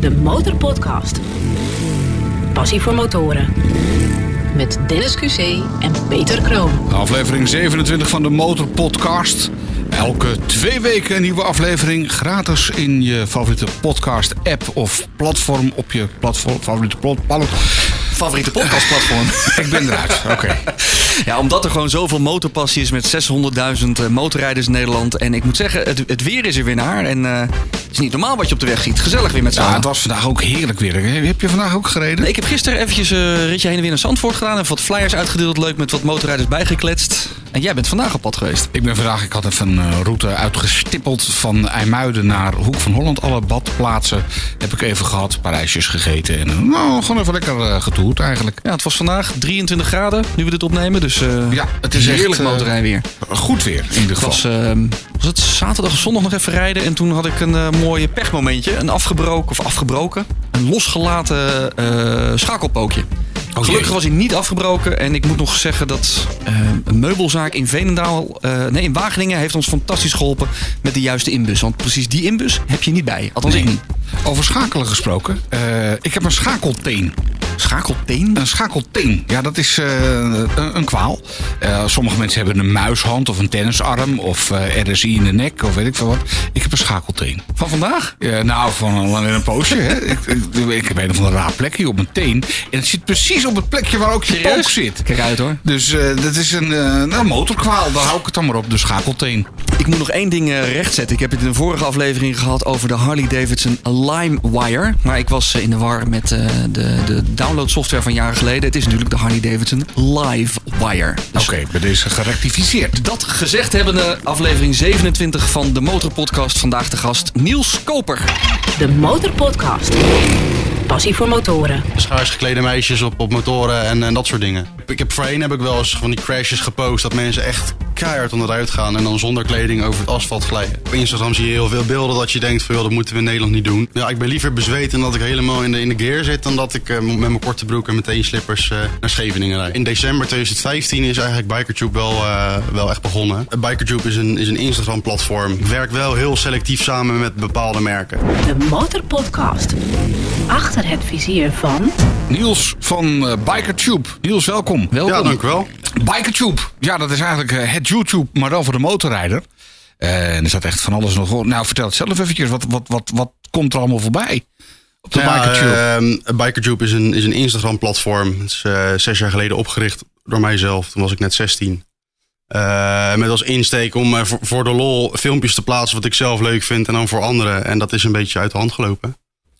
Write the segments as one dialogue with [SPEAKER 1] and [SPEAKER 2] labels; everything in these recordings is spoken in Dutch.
[SPEAKER 1] de Motorpodcast. Passie voor motoren. Met Dennis QC en Peter Kroon.
[SPEAKER 2] Aflevering 27 van de Motorpodcast. Elke twee weken een nieuwe aflevering. Gratis in je favoriete podcast-app of platform. Op je platform, favoriete platform.
[SPEAKER 3] favoriete podcastplatform.
[SPEAKER 2] Ik ben eruit. Oké.
[SPEAKER 3] ja, omdat er gewoon zoveel motorpassie is met 600.000 eh, motorrijders in Nederland. En ik moet zeggen, het, het weer is er weer naar. En eh, het is niet normaal wat je op de weg ziet. Gezellig weer met z'n
[SPEAKER 2] Ja,
[SPEAKER 3] allen.
[SPEAKER 2] Ah, het was vandaag ook heerlijk weer. Heb je vandaag ook gereden?
[SPEAKER 3] Ik heb gisteren eventjes eh, een ritje heen en weer naar Zandvoort gedaan. Even wat flyers uitgedeeld, leuk met wat motorrijders bijgekletst. En jij bent vandaag op pad geweest.
[SPEAKER 2] Ik ben vandaag, ik had even een eh, route uitgestippeld van IJmuiden naar Hoek van Holland. Alle badplaatsen heb ik even gehad, Parijsjes gegeten en eh, nou, gewoon even lekker eh, getoerd eigenlijk.
[SPEAKER 3] Ja, het was vandaag 23 graden, nu we dit opnemen. Dus eh,
[SPEAKER 2] Ja, het is echt,
[SPEAKER 3] heerlijk
[SPEAKER 2] eh,
[SPEAKER 3] motorrijden weer.
[SPEAKER 2] Goed weer in ieder
[SPEAKER 3] Ik
[SPEAKER 2] geval.
[SPEAKER 3] was, ehm, was het zaterdag of zondag nog even rijden en toen had ik een eh, mooie pechmomentje. Een afgebroken, of afgebroken, een losgelaten eh, schakelpookje.
[SPEAKER 2] jee.
[SPEAKER 3] Gelukkig was hij niet afgebroken en ik moet nog zeggen dat eh, een meubelzaak in Veenendaal, eh, nee in Wageningen, heeft ons fantastisch geholpen met de juiste inbus. Want precies die inbus heb je niet bij, althans ik niet.
[SPEAKER 2] Over schakelen gesproken. eh, ik heb een schakelteen.
[SPEAKER 3] Schakelteen?
[SPEAKER 2] Een schakelteen. Ja, dat is eh, een, een kwaal. Eh, sommige mensen hebben een muishand of een tennisarm of eh, RSI in de nek of weet ik veel wat. Ik heb een schakelteen.
[SPEAKER 3] Van vandaag?
[SPEAKER 2] Ja, nou, van al lang in een poosje. Hè. Ik, ik, ik heb een of ander raar plekje op mijn teen. En het zit precies op het plekje waar ook je
[SPEAKER 3] Serieus?
[SPEAKER 2] pook zit.
[SPEAKER 3] Kijk uit hoor.
[SPEAKER 2] Dus eh, dat is een eh, nou, motorkwaal. Daar hou ik het dan maar op. De schakelteen.
[SPEAKER 3] Ik moet nog één ding eh, rechtzetten. Ik heb het in de vorige aflevering gehad over de Harley-Davidson LimeWire. Maar ik was eh, in de war met eh, de, de downloadsoftware van jaren geleden. Het is natuurlijk de Harley-Davidson LiveWire. Dus
[SPEAKER 2] Oké, bij deze gerectificeerd.
[SPEAKER 3] Dat gezegd hebbende, aflevering 27 van de Motorpodcast. Vandaag de gast Niels Koper.
[SPEAKER 1] De Motorpodcast. Passie voor motoren.
[SPEAKER 4] schaars geklede meisjes op, op motoren en, en dat soort dingen. Ik heb voorheen heb ik wel eens van die crashes gepost dat mensen echt keihard onderuit gaan en dan zonder kleding over het asfalt glijden. Op Instagram zie je heel veel beelden dat je denkt van joh, dat moeten we in Nederland niet doen. Ja, ik ben liever bezweet en dat ik helemaal in de, in de gear zit dan dat ik eh, met mijn korte broek en meteen slippers eh, naar Scheveningen rijd. In december 2015 is eigenlijk BikerTube wel, eh, wel echt begonnen. BikerTube is een, is een Instagram platform. Ik werk wel heel selectief samen met bepaalde merken.
[SPEAKER 1] De Motorpodcast. Achter het vizier van
[SPEAKER 2] Niels van eh, BikerTube. Niels, welkom.
[SPEAKER 3] Welkom.
[SPEAKER 4] Ja, dank u wel.
[SPEAKER 2] BikerTube. Ja, dat is eigenlijk eh, het YouTube, maar dan voor de motorrijder. Eh, en er staat echt van alles nog. op. Nou, vertel het zelf eventjes. Wat, wat, wat, wat komt er allemaal voorbij op
[SPEAKER 4] Nou,
[SPEAKER 2] de BikerTube?
[SPEAKER 4] ehm, Bikertube is een, is een Instagram-platform. Het is eh, zes jaar geleden opgericht door mijzelf. Toen was ik net 16. Eh, met als insteek om eh, voor, voor de lol filmpjes te plaatsen wat ik zelf leuk vind en dan voor anderen. En dat is een beetje uit de hand gelopen.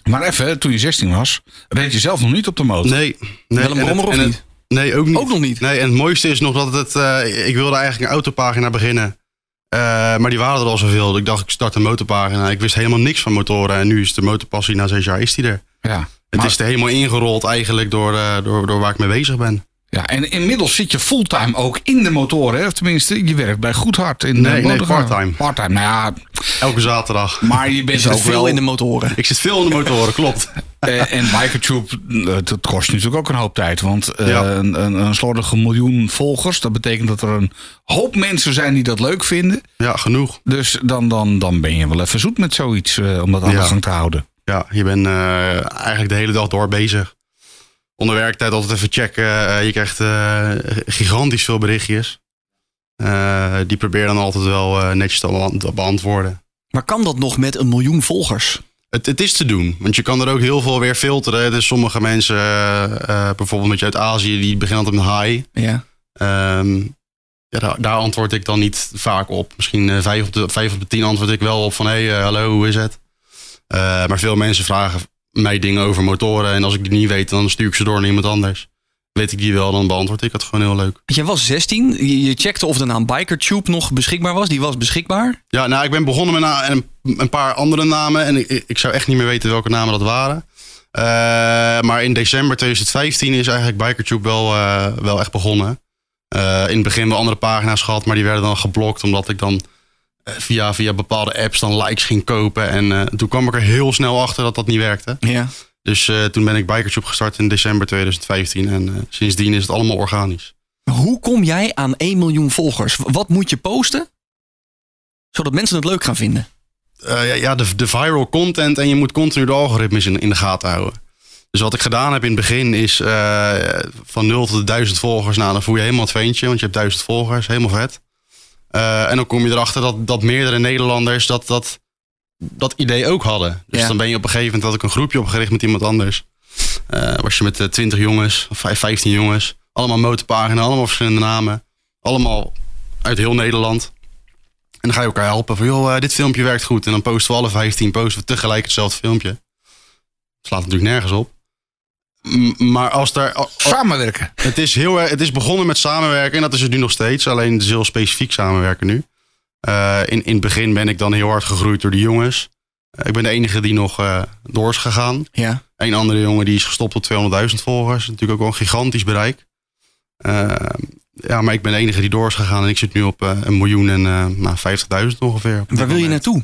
[SPEAKER 2] Maar even, toen je 16 was, reed je zelf nog niet op de motor.
[SPEAKER 4] Nee. nee
[SPEAKER 3] Wel een
[SPEAKER 4] en
[SPEAKER 3] brommer
[SPEAKER 4] het-
[SPEAKER 3] of
[SPEAKER 4] en
[SPEAKER 3] niet?
[SPEAKER 4] het- nee, ook niet.
[SPEAKER 3] Ook nog niet.
[SPEAKER 4] Nee, en het mooiste is nog dat het. eh, ik wilde eigenlijk een autopagina beginnen. Eh, maar die waren er al zoveel. Ik dacht, ik start een motorpagina. Ik wist helemaal niks van motoren. En nu is de motorpassie na zes jaar is die er.
[SPEAKER 2] Ja.
[SPEAKER 4] Het
[SPEAKER 2] Maar-
[SPEAKER 4] is er helemaal ingerold eigenlijk door, eh, door, door waar ik mee bezig ben.
[SPEAKER 2] Ja, en inmiddels zit je fulltime ook in de motoren. hè? Of tenminste, je werkt bij Goedhart. In eh,
[SPEAKER 4] Nee, nee,
[SPEAKER 2] Bodegraven.
[SPEAKER 4] parttime.
[SPEAKER 2] Parttime, nou ja.
[SPEAKER 4] Elke zaterdag.
[SPEAKER 2] Maar je bent
[SPEAKER 3] Zit
[SPEAKER 2] ook
[SPEAKER 3] veel
[SPEAKER 2] wel...
[SPEAKER 3] in de motoren.
[SPEAKER 4] Ik zit veel in de motoren, klopt.
[SPEAKER 2] Eh, en Bikertube, eh, dat kost natuurlijk ook een hoop tijd. Want eh,
[SPEAKER 4] Ja.
[SPEAKER 2] een, een, een slordige miljoen volgers, dat betekent dat er een hoop mensen zijn die dat leuk vinden.
[SPEAKER 4] Ja, genoeg.
[SPEAKER 2] Dus dan, dan, dan ben je wel even zoet met zoiets eh, om dat aan
[SPEAKER 4] Ja.
[SPEAKER 2] de gang te houden.
[SPEAKER 4] Ja, je bent eh, eigenlijk de hele dag door bezig. Onder werktijd altijd even checken. Eh, je krijgt eh, gigantisch veel berichtjes. Eh, die probeer dan altijd wel eh, netjes te beant- te beantwoorden.
[SPEAKER 3] Maar kan dat nog met een miljoen volgers?
[SPEAKER 4] Het, het is te doen, want je kan er ook heel veel weer filteren. Dus sommige mensen, eh, eh, bijvoorbeeld met je uit Azië, die beginnen altijd met hi.
[SPEAKER 3] Ja.
[SPEAKER 4] Ehm, ja, daar, daar antwoord ik dan niet vaak op. Misschien eh, vijf, op de, vijf op de tien antwoord ik wel op van... hé, hey, eh, hallo, hoe is het? Eh, maar veel mensen vragen mij dingen over motoren... en als ik die niet weet, dan stuur ik ze door naar iemand anders. Weet ik die wel, dan beantwoord ik het gewoon heel leuk.
[SPEAKER 3] Jij was 16, je, je checkte of de naam BikerTube nog beschikbaar was. Die was beschikbaar.
[SPEAKER 4] Ja, nou, ik ben begonnen met na- een, een paar andere namen... en ik, ik zou echt niet meer weten welke namen dat waren... Eh, maar in december 2015 is eigenlijk Bikertube wel, eh, wel echt begonnen. Eh, in het begin wel andere pagina's gehad, maar die werden dan geblokt omdat ik dan eh, via, via bepaalde apps dan likes ging kopen. En eh, toen kwam ik er heel snel achter dat dat niet werkte.
[SPEAKER 3] Ja.
[SPEAKER 4] Dus eh, toen ben ik Bikertube gestart in december 2015 en eh, sindsdien is het allemaal organisch.
[SPEAKER 3] Hoe kom jij aan 1 miljoen volgers? W- Wat moet je posten? Zodat mensen het leuk gaan vinden.
[SPEAKER 4] eh, ja, ja, de, de viral content en je moet continu de algoritmes in, in de gaten houden. Dus wat ik gedaan heb in het begin is eh, van 0 tot 1000 volgers. Nou, dan voel je helemaal het veentje, want je hebt 1000 volgers. Helemaal vet. Eh, en dan kom je erachter dat, dat meerdere Nederlanders dat, dat, dat idee ook hadden. Dus
[SPEAKER 3] Ja.
[SPEAKER 4] dan ben je op een gegeven moment, had ik een groepje opgericht met iemand anders. Eh, was je met eh, 20 jongens, of vijf- 15 jongens. Allemaal motorpagina, allemaal verschillende namen. Allemaal uit heel Nederland. En dan ga je elkaar helpen van, joh, eh, dit filmpje werkt goed. En dan posten we alle 15, posten we tegelijk hetzelfde filmpje. Slaat natuurlijk nergens op. M- maar als daar... al- al-
[SPEAKER 2] Samenwerken.
[SPEAKER 4] het is, heel, erg- het is begonnen met samenwerken en dat is het nu nog steeds. Alleen het is heel specifiek samenwerken nu. Eh, in, in het begin ben ik dan heel hard gegroeid door de jongens. Eh, ik ben de enige die nog eh, door is gegaan.
[SPEAKER 3] Ja.
[SPEAKER 4] Een andere jongen die is gestopt op 200.000 volgers. Natuurlijk ook wel een gigantisch bereik. Eh, ja, maar ik ben de enige die door is gegaan en ik zit nu op eh, een miljoen en eh, nou, 50.000 ongeveer. op dit
[SPEAKER 3] Waar wil je
[SPEAKER 4] moment.
[SPEAKER 3] naartoe?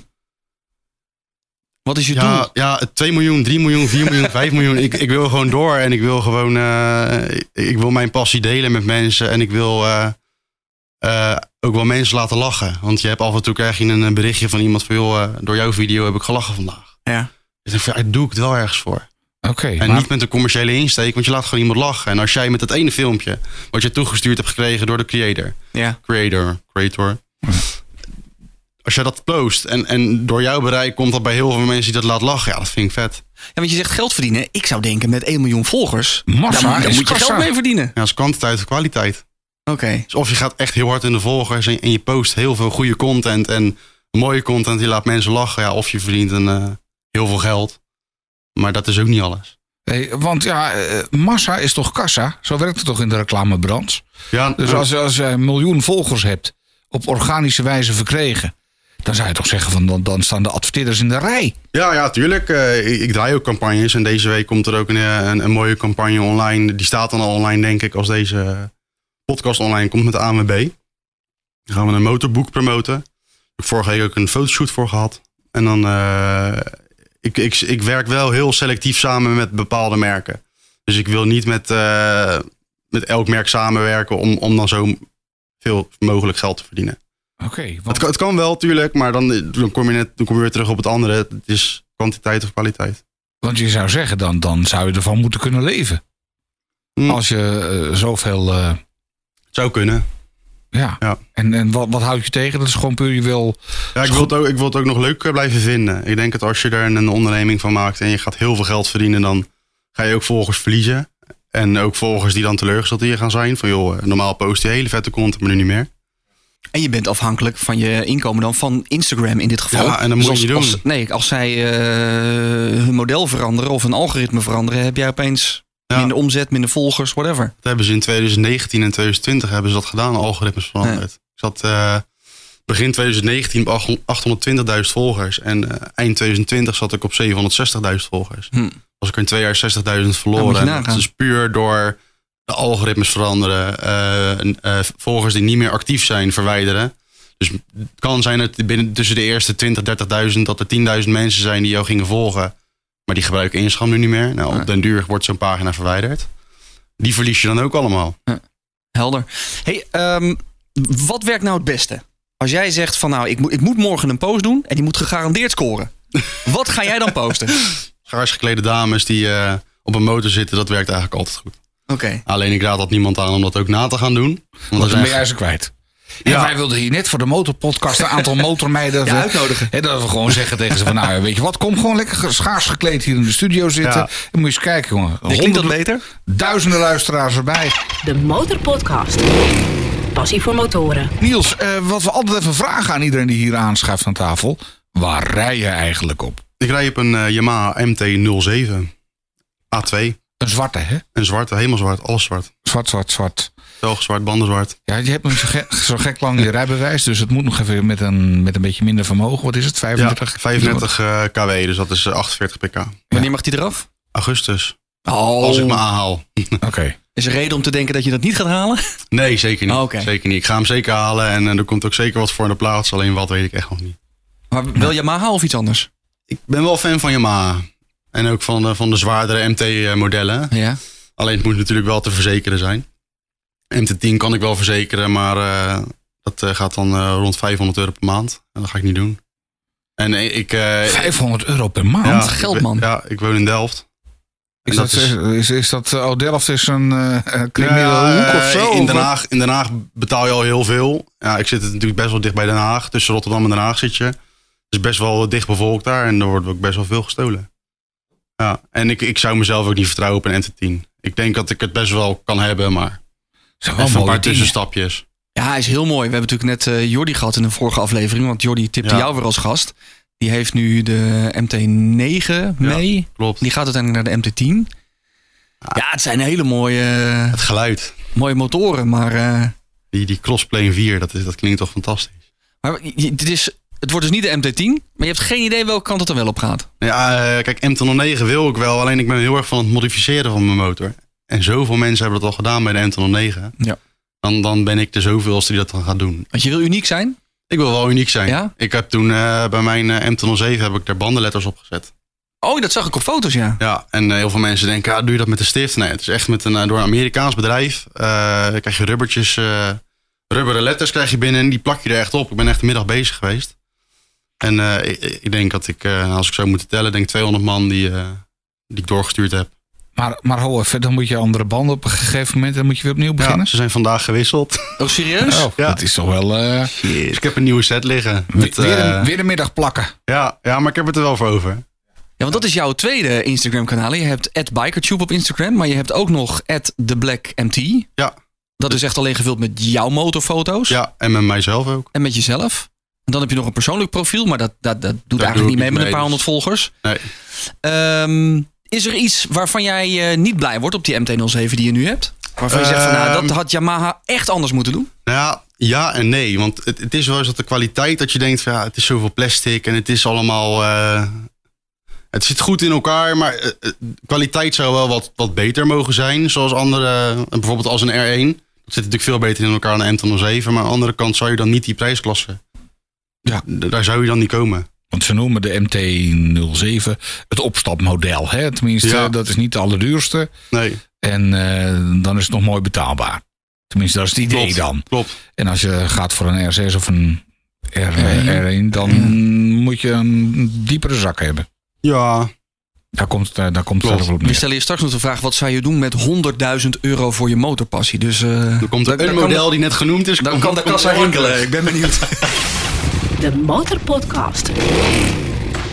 [SPEAKER 3] Wat is je
[SPEAKER 4] Ja,
[SPEAKER 3] doel?
[SPEAKER 4] ja, 2 miljoen, 3 miljoen, 4 miljoen, 5 miljoen. Ik, ik wil gewoon door en ik wil gewoon. eh, ik, ik wil mijn passie delen met mensen en ik wil eh, eh, ook wel mensen laten lachen. Want je hebt af en toe krijg je een eh, berichtje van iemand van joh, eh, door jouw video heb ik gelachen vandaag.
[SPEAKER 3] Ja.
[SPEAKER 4] Dus ik vind, ja, doe ik het wel ergens voor.
[SPEAKER 2] Oké.
[SPEAKER 4] En
[SPEAKER 2] maar-
[SPEAKER 4] niet met een commerciële insteek, want je laat gewoon iemand lachen. En als jij met dat ene filmpje, wat je toegestuurd hebt gekregen door de creator,
[SPEAKER 3] Ja.
[SPEAKER 4] creator, creator. Als jij dat post en, en door jouw bereik komt dat bij heel veel mensen die dat laat lachen, ja, dat vind ik vet.
[SPEAKER 3] Ja, want je zegt geld verdienen. Ik zou denken met 1 miljoen volgers.
[SPEAKER 2] Massa
[SPEAKER 3] daar moet- daar
[SPEAKER 2] is
[SPEAKER 3] moet je
[SPEAKER 2] kassa.
[SPEAKER 3] geld mee verdienen.
[SPEAKER 4] Ja, dat is kwantiteit of kwaliteit.
[SPEAKER 3] Oké.
[SPEAKER 4] Dus of je gaat echt heel hard in de volgers en, en je post heel veel goede content en mooie content, die laat mensen lachen. Ja, of je verdient een, eh, heel veel geld. Maar dat is ook niet alles.
[SPEAKER 2] Nee, want ja, eh, massa is toch kassa? Zo werkt het toch in de reclamebranche?
[SPEAKER 4] Ja,
[SPEAKER 2] Dus
[SPEAKER 4] eh,
[SPEAKER 2] als, als je een miljoen volgers hebt, op organische wijze verkregen... dan zou je toch zeggen, van dan, dan staan de adverteerders in de rij.
[SPEAKER 4] Ja, ja, tuurlijk. Eh, ik, ik draai ook campagnes. En deze week komt er ook een, eh, een, een mooie campagne online. Die staat dan al online, denk ik, als deze podcast online komt met de ANWB. Dan gaan we een motorboek promoten. Ik heb vorige week ook een fotoshoot voor gehad. En dan, eh, ik, ik, ik werk wel heel selectief samen met bepaalde merken. Dus ik wil niet met, eh, met elk merk samenwerken om, om dan zo veel mogelijk geld te verdienen.
[SPEAKER 2] Oké,
[SPEAKER 4] Het kan, het kan wel, tuurlijk, maar dan, dan, kom je net, dan kom je weer terug op het andere. Het is kwantiteit of kwaliteit.
[SPEAKER 2] Want je zou zeggen, dan, dan zou je ervan moeten kunnen leven.
[SPEAKER 3] Mm.
[SPEAKER 4] Hm.
[SPEAKER 2] Als je eh, zoveel... eh,
[SPEAKER 4] Het zou kunnen.
[SPEAKER 2] ja.
[SPEAKER 4] Ja.
[SPEAKER 2] En, en wat, wat houd je tegen? Dat is gewoon puur je wil...
[SPEAKER 4] Ja, ik, wil het ook, ik wil het ook nog leuk eh, blijven vinden. Ik denk dat als je er een, een onderneming van maakt en je gaat heel veel geld verdienen, dan ga je ook volgers verliezen. En ook volgers die dan teleurgesteld in je gaan zijn. Van joh, eh, normaal post je hele vette content, maar nu niet meer.
[SPEAKER 3] En je bent afhankelijk van je inkomen dan van Instagram in dit geval.
[SPEAKER 4] Ja, en dat moet
[SPEAKER 3] als,
[SPEAKER 4] je niet doen.
[SPEAKER 3] als- nee, als zij eh, hun model veranderen of een algoritme veranderen, heb jij opeens
[SPEAKER 4] Ja.
[SPEAKER 3] minder omzet, minder volgers, whatever.
[SPEAKER 4] Dat hebben ze in 2019 en 2020 hebben ze dat gedaan, algoritmes veranderd. Ik zat eh, begin 2019 op 820.000 volgers en eh, eind 2020 zat ik op 760.000 volgers.
[SPEAKER 3] Hm.
[SPEAKER 4] Was ik er in twee jaar 60.000
[SPEAKER 3] Ja, moet je
[SPEAKER 4] verloren. En dat
[SPEAKER 3] nagaan.
[SPEAKER 4] is puur door de algoritmes veranderen, eh, en, eh, volgers die niet meer actief zijn verwijderen. Dus het kan zijn dat binnen tussen de eerste 20.000, 30.000 dat er 10.000 mensen zijn die jou gingen volgen. Maar die gebruiken Instagram nu niet meer. Nou,
[SPEAKER 3] Ja.
[SPEAKER 4] op den duur wordt zo'n pagina verwijderd. Die verlies je dan ook allemaal.
[SPEAKER 3] Helder. Hey, ehm, wat werkt nou het beste? Als jij zegt van nou, ik, moet ik moet morgen een post doen en die moet gegarandeerd scoren. wat ga jij dan posten? Oké.
[SPEAKER 4] schaars geklede dames die eh, op een motor zitten, dat werkt eigenlijk altijd goed. Alleen ik raad dat niemand aan om dat ook na te gaan doen. Want
[SPEAKER 2] Want
[SPEAKER 4] dat
[SPEAKER 2] dan ben
[SPEAKER 4] is
[SPEAKER 2] jij ze kwijt. En wij wilden hier net voor de motorpodcast een aantal motormeiden...
[SPEAKER 3] Ja, uitnodigen.
[SPEAKER 2] Hè, dat we gewoon zeggen tegen ze van... Nou, weet je wat, kom gewoon lekker ge- schaars gekleed hier in de studio zitten.
[SPEAKER 4] Ja.
[SPEAKER 2] En moet je eens kijken, jongen.
[SPEAKER 3] Klinkt dat
[SPEAKER 2] Honderden-
[SPEAKER 3] beter?
[SPEAKER 2] Duizenden luisteraars erbij.
[SPEAKER 1] De Motorpodcast. Passie voor motoren.
[SPEAKER 2] Niels, eh, wat we altijd even vragen aan iedereen die hier aanschuift aan tafel. Waar rij je eigenlijk op?
[SPEAKER 4] Ik rij op een eh, Yamaha MT-07 A2.
[SPEAKER 2] Een zwarte, hè?
[SPEAKER 4] Een zwarte, helemaal zwart, alles zwart.
[SPEAKER 2] Zwart, zwart, zwart.
[SPEAKER 4] Velgen zwart, banden zwart.
[SPEAKER 2] Ja, je hebt nog zo gek, zo gek lang je rijbewijs. Dus het moet nog even met een, met een beetje minder vermogen. Wat is het?
[SPEAKER 4] Ja,
[SPEAKER 2] 35?
[SPEAKER 4] 35 eh, kW, dus dat is eh, 48 pk.
[SPEAKER 3] Wanneer mag die eraf?
[SPEAKER 4] Augustus,
[SPEAKER 3] Oh,
[SPEAKER 4] als ik me aanhaal.
[SPEAKER 2] Oké.
[SPEAKER 3] is er reden om te denken dat je dat niet gaat halen?
[SPEAKER 4] Nee, zeker niet.
[SPEAKER 3] Oh, oké.
[SPEAKER 4] Zeker niet. Ik ga hem zeker halen en eh, er komt ook zeker wat voor in de plaats. Alleen wat weet ik echt nog niet.
[SPEAKER 3] Maar wel Yamaha of iets anders?
[SPEAKER 4] Ik ben wel fan van Yamaha. En ook van, de- van de zwaardere eh, MT-modellen.
[SPEAKER 3] Ja.
[SPEAKER 4] Alleen het moet natuurlijk wel te verzekeren zijn. MT10 kan ik wel verzekeren, maar eh, dat eh, gaat dan eh, rond 500 euro per maand. En dat ga ik niet doen. En ik... eh,
[SPEAKER 2] 500 euro per maand?
[SPEAKER 4] ja,
[SPEAKER 3] geld,
[SPEAKER 4] ik-
[SPEAKER 3] man.
[SPEAKER 4] Ja, ik woon in Delft.
[SPEAKER 2] Is
[SPEAKER 4] En
[SPEAKER 2] dat, is, is, dat eh, oh, Delft is een eh eh, criminele
[SPEAKER 4] Nou ja,
[SPEAKER 2] hoek of
[SPEAKER 4] eh,
[SPEAKER 2] zo?
[SPEAKER 4] In
[SPEAKER 2] of
[SPEAKER 4] Den
[SPEAKER 2] wat?
[SPEAKER 4] Haag, in Den Haag betaal je al heel veel. Ja, ik zit natuurlijk best wel dicht bij Den Haag. Tussen Rotterdam en Den Haag zit je. Het is best wel dicht bevolkt daar en er wordt ook best wel veel gestolen. Ja, en ik, ik zou mezelf ook niet vertrouwen op een entertain. Ik denk dat ik het best wel kan hebben, maar
[SPEAKER 2] Zijn wel
[SPEAKER 4] even
[SPEAKER 2] mooie
[SPEAKER 4] een paar
[SPEAKER 2] dingen.
[SPEAKER 4] tussenstapjes.
[SPEAKER 3] Ja, hij is heel mooi. We hebben natuurlijk net eh Jordi gehad in de vorige aflevering. Want Jordi tipte
[SPEAKER 4] Ja.
[SPEAKER 3] jou weer als gast. Die heeft nu de MT9 mee.
[SPEAKER 4] Klopt.
[SPEAKER 3] Die gaat uiteindelijk naar de MT10. Ja, het zijn hele mooie,
[SPEAKER 4] Het geluid,
[SPEAKER 3] mooie motoren. Maar, eh,
[SPEAKER 4] die, die Crossplane 4, dat, is, dat klinkt toch fantastisch.
[SPEAKER 3] maar je- dit is, het wordt dus niet de MT10. Maar je hebt geen idee welke kant het er wel op gaat.
[SPEAKER 4] Ja, eh, kijk, M209 wil ik wel, alleen ik ben heel erg van het modificeren van mijn motor. En zoveel mensen hebben dat al gedaan bij de M209.
[SPEAKER 3] Ja.
[SPEAKER 4] Dan, dan ben ik de zoveelste die dat dan gaat doen.
[SPEAKER 3] Want je wil uniek zijn.
[SPEAKER 4] Ik wil wel uniek zijn.
[SPEAKER 3] Ja?
[SPEAKER 4] Ik heb toen eh, bij mijn eh, M207 heb ik daar bandenletters op gezet.
[SPEAKER 3] Oh, dat zag ik op foto's, ja.
[SPEAKER 4] Ja, en eh, heel veel mensen denken, ah, doe je dat met de stift? Nee, het is echt met een, eh, door een Amerikaans bedrijf. eh, krijg je rubbertjes, eh rubberen letters krijg je binnen en die plak je er echt op. Ik ben echt de middag bezig geweest. En eh, ik, ik denk dat ik, eh, als ik zou moeten tellen, denk ik 200 man die, eh, die ik doorgestuurd heb.
[SPEAKER 2] Maar, maar ho, even, dan moet je andere banden op een gegeven moment. Dan moet je weer opnieuw
[SPEAKER 4] Ja,
[SPEAKER 2] beginnen.
[SPEAKER 4] ze zijn vandaag gewisseld.
[SPEAKER 3] Oh, serieus?
[SPEAKER 2] Oh,
[SPEAKER 4] Ja.
[SPEAKER 2] Dat is toch wel... eh,
[SPEAKER 4] Dus ik heb een nieuwe set liggen. Met,
[SPEAKER 2] weer,
[SPEAKER 4] eh,
[SPEAKER 2] een, weer een middag plakken.
[SPEAKER 4] ja, ja, maar ik heb het er wel voor over.
[SPEAKER 3] Ja, want dat is jouw tweede Instagram-kanaal. Je hebt @bikertube op Instagram, maar je hebt ook nog @theblackmt.
[SPEAKER 4] Ja.
[SPEAKER 3] Dat is echt alleen gevuld met jouw motorfoto's
[SPEAKER 4] Ja, en met mijzelf ook.
[SPEAKER 3] en met jezelf. En dan heb je nog een persoonlijk profiel, maar dat, dat, dat doet
[SPEAKER 4] doe
[SPEAKER 3] eigenlijk
[SPEAKER 4] ik
[SPEAKER 3] niet mee
[SPEAKER 4] niet
[SPEAKER 3] met een paar
[SPEAKER 4] mee,
[SPEAKER 3] honderd
[SPEAKER 4] dus-
[SPEAKER 3] volgers.
[SPEAKER 4] Nee.
[SPEAKER 3] Ehm, is er iets waarvan jij eh, niet blij wordt op die MT-07 die je nu hebt? Waarvan je zegt van, nou,
[SPEAKER 4] Ehm.
[SPEAKER 3] dat had Yamaha echt anders moeten doen?
[SPEAKER 4] Nou ja, ja en nee. Want het, het is wel eens dat de kwaliteit dat je denkt van ja, het is zoveel plastic en het is allemaal. eh, het zit goed in elkaar, maar eh, eh, kwaliteit zou wel wat, wat beter mogen zijn. Zoals andere, eh, bijvoorbeeld als een R1. Dat zit natuurlijk veel beter in elkaar dan een M207. Maar aan de andere kant zou je dan niet die prijsklasse.
[SPEAKER 2] Ja.
[SPEAKER 4] D- daar zou je dan niet komen.
[SPEAKER 2] Want ze noemen de MT-07 het opstapmodel. Hè? Tenminste,
[SPEAKER 4] Ja.
[SPEAKER 2] eh, dat is niet de allerduurste.
[SPEAKER 4] Nee,
[SPEAKER 2] En eh, dan is het nog mooi betaalbaar. Tenminste, dat is het idee
[SPEAKER 4] klopt.
[SPEAKER 2] dan.
[SPEAKER 4] Klopt.
[SPEAKER 2] En als je gaat voor een R6 of een R, R1, dan moet je een diepere zak hebben.
[SPEAKER 4] Ja,
[SPEAKER 2] Daar komt, het, eh, daar komt het
[SPEAKER 4] Klopt.
[SPEAKER 2] verder wel op
[SPEAKER 3] We
[SPEAKER 2] neer.
[SPEAKER 3] stellen je straks nog de vraag, wat zou je doen met 100.000 euro voor je motorpassie? Dus eh,
[SPEAKER 4] er komt
[SPEAKER 3] dan-
[SPEAKER 4] een
[SPEAKER 3] dan kan-
[SPEAKER 4] model die net genoemd is.
[SPEAKER 3] Dan
[SPEAKER 4] komt-
[SPEAKER 3] kan de
[SPEAKER 4] komt
[SPEAKER 3] kassa
[SPEAKER 4] er enkele.
[SPEAKER 3] rinkelen. Ik ben benieuwd.
[SPEAKER 1] De Motorpodcast.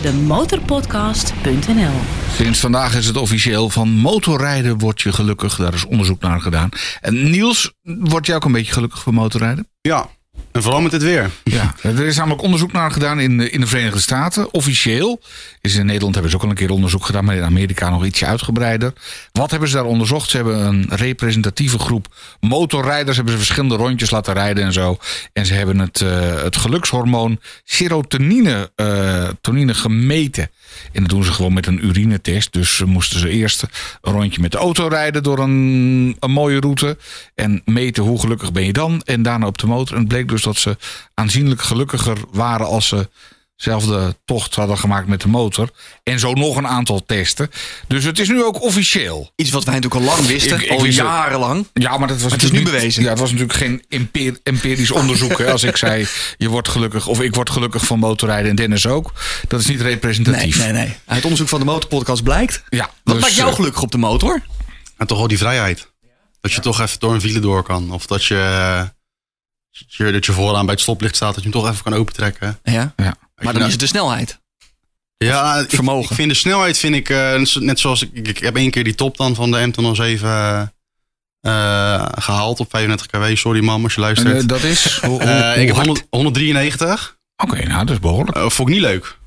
[SPEAKER 1] De Motorpodcast.nl
[SPEAKER 2] Sinds vandaag is het officieel van motorrijden word je gelukkig. Daar is onderzoek naar gedaan. En Niels, word jij ook een beetje gelukkig van motorrijden?
[SPEAKER 4] Ja, en vooral met het weer.
[SPEAKER 2] Ja, er is namelijk onderzoek naar gedaan in de, in de Verenigde Staten. Officieel is in Nederland hebben ze ook al een keer onderzoek gedaan, maar in Amerika nog ietsje uitgebreider. Wat hebben ze daar onderzocht? Ze hebben een representatieve groep motorrijders, hebben ze verschillende rondjes laten rijden en zo. En ze hebben het, eh, het gelukshormoon serotonine eh, tonine gemeten. En dat doen ze gewoon met een urinetest. Dus ze moesten ze eerst een rondje met de auto rijden door een, een mooie route. En meten hoe gelukkig ben je dan. En daarna op de motor. En het bleek dus dat ze aanzienlijk gelukkiger waren als ze zelfde tocht hadden gemaakt met de motor. En zo nog een aantal testen. Dus het is nu ook officieel.
[SPEAKER 3] Iets wat wij natuurlijk al lang wisten,
[SPEAKER 2] Ik- ik
[SPEAKER 3] al
[SPEAKER 2] wist het.
[SPEAKER 3] jarenlang.
[SPEAKER 2] Ja, maar dat was
[SPEAKER 3] het is nu
[SPEAKER 2] natuurlijk niet-
[SPEAKER 3] bewezen.
[SPEAKER 2] Ja, het was natuurlijk geen emper- empirisch onderzoek. hè, als ik zei, je wordt gelukkig, of ik word gelukkig van motorrijden en Dennis ook. Dat is niet representatief.
[SPEAKER 3] nee. Uit onderzoek van de Motorpodcast blijkt.
[SPEAKER 2] Ja,
[SPEAKER 3] Wat
[SPEAKER 2] dus,
[SPEAKER 3] maakt jou gelukkig op de motor?
[SPEAKER 4] En toch wel die vrijheid. Dat je toch even door een file door kan. Of dat je, dat je, dat je vooraan bij het stoplicht staat, dat je hem toch even kan opentrekken.
[SPEAKER 3] Ja.
[SPEAKER 2] Ja.
[SPEAKER 3] Maar dan is het de snelheid.
[SPEAKER 4] ja, ik,
[SPEAKER 3] vermogen.
[SPEAKER 4] ik vind de snelheid, vind ik, eh, net zoals ik, ik heb één keer die top dan van de M207 eh, eh, gehaald op 35 kW. Sorry mam als je
[SPEAKER 2] En,
[SPEAKER 4] luistert.
[SPEAKER 2] eh, dat is. Hoe, hoe-
[SPEAKER 4] Eh, ik heb
[SPEAKER 2] hoe hard?
[SPEAKER 4] 100 193.
[SPEAKER 2] Oké, nou, dat is behoorlijk.
[SPEAKER 4] Eh, vond ik niet leuk.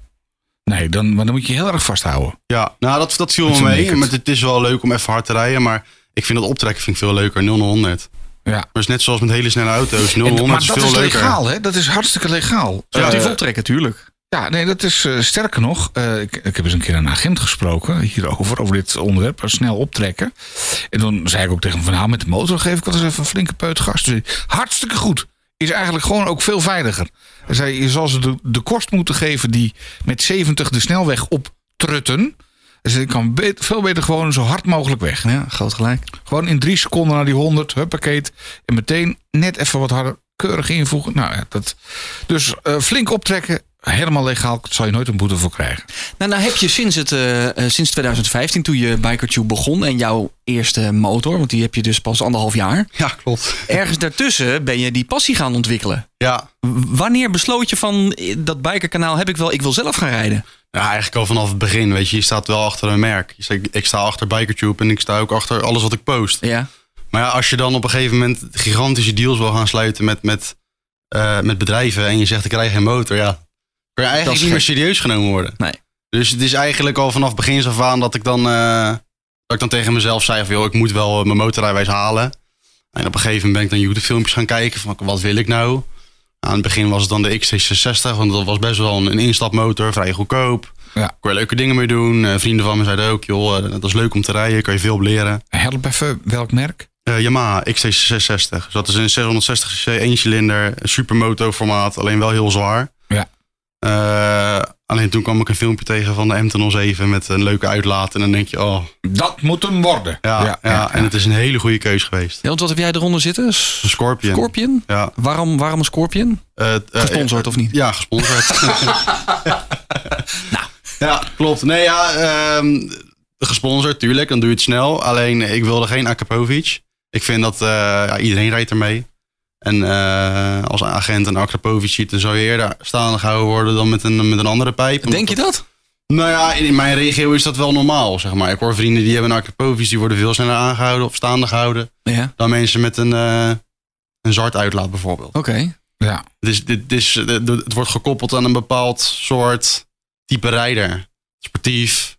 [SPEAKER 2] Nee, dan, maar dan moet je heel erg vasthouden.
[SPEAKER 4] Ja, nou dat, dat viel
[SPEAKER 2] Dat
[SPEAKER 4] me
[SPEAKER 2] is
[SPEAKER 4] mee.
[SPEAKER 2] naked.
[SPEAKER 4] Maar het is wel leuk om even hard te rijden. Maar ik vind dat optrekken vind ik veel leuker. 0 naar 100.
[SPEAKER 2] Ja.
[SPEAKER 4] Maar het is net zoals met hele snelle auto's. 0
[SPEAKER 2] En-
[SPEAKER 4] naar 100
[SPEAKER 2] maar
[SPEAKER 4] is
[SPEAKER 2] dat
[SPEAKER 4] veel
[SPEAKER 2] is
[SPEAKER 4] leuker.
[SPEAKER 2] legaal, hè? Dat is hartstikke legaal.
[SPEAKER 3] Relatief
[SPEAKER 2] Eh,
[SPEAKER 3] optrekken, tuurlijk.
[SPEAKER 2] Ja, nee, dat is eh, sterker nog. eh, ik, ik heb eens een keer een agent gesproken hierover, over dit onderwerp. eh, Snel optrekken. En dan zei ik ook tegen hem van nou, met de motor geef ik wel eens even een flinke peut gas. Dus hartstikke goed. Is eigenlijk gewoon ook veel veiliger. Hij zei, je zal ze de, de kost moeten geven die met 70 de snelweg optrutten. Hij zei, ik kan be- veel beter gewoon zo hard mogelijk weg.
[SPEAKER 3] Ja, groot gelijk.
[SPEAKER 2] Gewoon in drie seconden naar die 100, huppakee. En meteen net even wat harder, keurig invoegen. Nou ja, dat. Dus eh, flink optrekken, helemaal legaal zal je nooit een boete voor krijgen.
[SPEAKER 3] Nou, nou heb je sinds, het, eh, eh, sinds 2015, toen je BikerTube begon en jouw eerste motor, want die heb je dus pas anderhalf jaar.
[SPEAKER 4] Ja, klopt.
[SPEAKER 3] Ergens daartussen ben je die passie gaan ontwikkelen.
[SPEAKER 4] Ja.
[SPEAKER 3] W- Wanneer besloot je van eh, dat bikerkanaal heb ik wel, ik wil zelf gaan rijden?
[SPEAKER 4] ja, eigenlijk al vanaf het begin. Weet je, je staat wel achter een merk. Je zegt, Ik sta achter Bikertube en ik sta ook achter alles wat ik post.
[SPEAKER 3] Ja.
[SPEAKER 4] Maar ja, als je dan op een gegeven moment gigantische deals wil gaan sluiten met, met, eh, met bedrijven en je zegt ik krijg geen motor, ja, kun je
[SPEAKER 3] Dat
[SPEAKER 4] eigenlijk
[SPEAKER 3] is
[SPEAKER 4] niet meer
[SPEAKER 3] gek.
[SPEAKER 4] serieus genomen worden.
[SPEAKER 3] Nee.
[SPEAKER 4] Dus het is eigenlijk al vanaf begins af aan dat ik dan, eh, dat ik dan tegen mezelf zei van joh, ik moet wel eh, mijn motorrijwijs halen. En op een gegeven moment ben ik dan YouTube filmpjes gaan kijken van wat wil ik nou? Aan het begin was het dan de XT60, want dat was best wel een, een instapmotor, vrij goedkoop.
[SPEAKER 2] Ja.
[SPEAKER 4] Kon je leuke dingen mee doen. Eh, vrienden van me zeiden ook, joh, eh, dat is leuk om te rijden, kan je veel op leren.
[SPEAKER 2] Help even, welk merk?
[SPEAKER 4] Eh, Yamaha XT660. Dus dat is een 660cc, één cilinder, een supermoto formaat, alleen wel heel zwaar.
[SPEAKER 2] Ja.
[SPEAKER 4] Eh, alleen toen kwam ik een filmpje tegen van de MT-07 met een leuke uitlaat. En dan denk je, oh,
[SPEAKER 2] Dat moet hem worden.
[SPEAKER 4] ja, ja, en het is een hele goede keus geweest.
[SPEAKER 3] Ja, want wat heb jij eronder zitten? S-
[SPEAKER 4] Een Scorpion.
[SPEAKER 3] Scorpion?
[SPEAKER 4] Ja.
[SPEAKER 3] Waarom, waarom een Scorpion?
[SPEAKER 4] Eh, t- eh,
[SPEAKER 3] Gesponsord of niet?
[SPEAKER 4] Ja, gesponsord. Nou. Ja, klopt. Nee, ja, ehm, gesponsord, tuurlijk. Dan doe je het snel. Alleen, ik wilde geen Akrapovic. Ik vind dat eh, ja, iedereen rijdt ermee. En eh, als een agent een Akrapovic ziet, dan zou je eerder staande gehouden worden dan met een, met een andere pijp.
[SPEAKER 3] Denk je dat?
[SPEAKER 4] Nou ja, in in mijn regio is dat wel normaal, zeg maar. Ik hoor vrienden die hebben een Akrapovic, die worden veel sneller aangehouden of staande gehouden
[SPEAKER 3] Ja.
[SPEAKER 4] dan mensen met een, eh een zwart uitlaat bijvoorbeeld.
[SPEAKER 3] Oké.
[SPEAKER 2] Ja.
[SPEAKER 4] Het, is, dit dit is, dit- het wordt gekoppeld aan een bepaald soort type rijder. Sportief.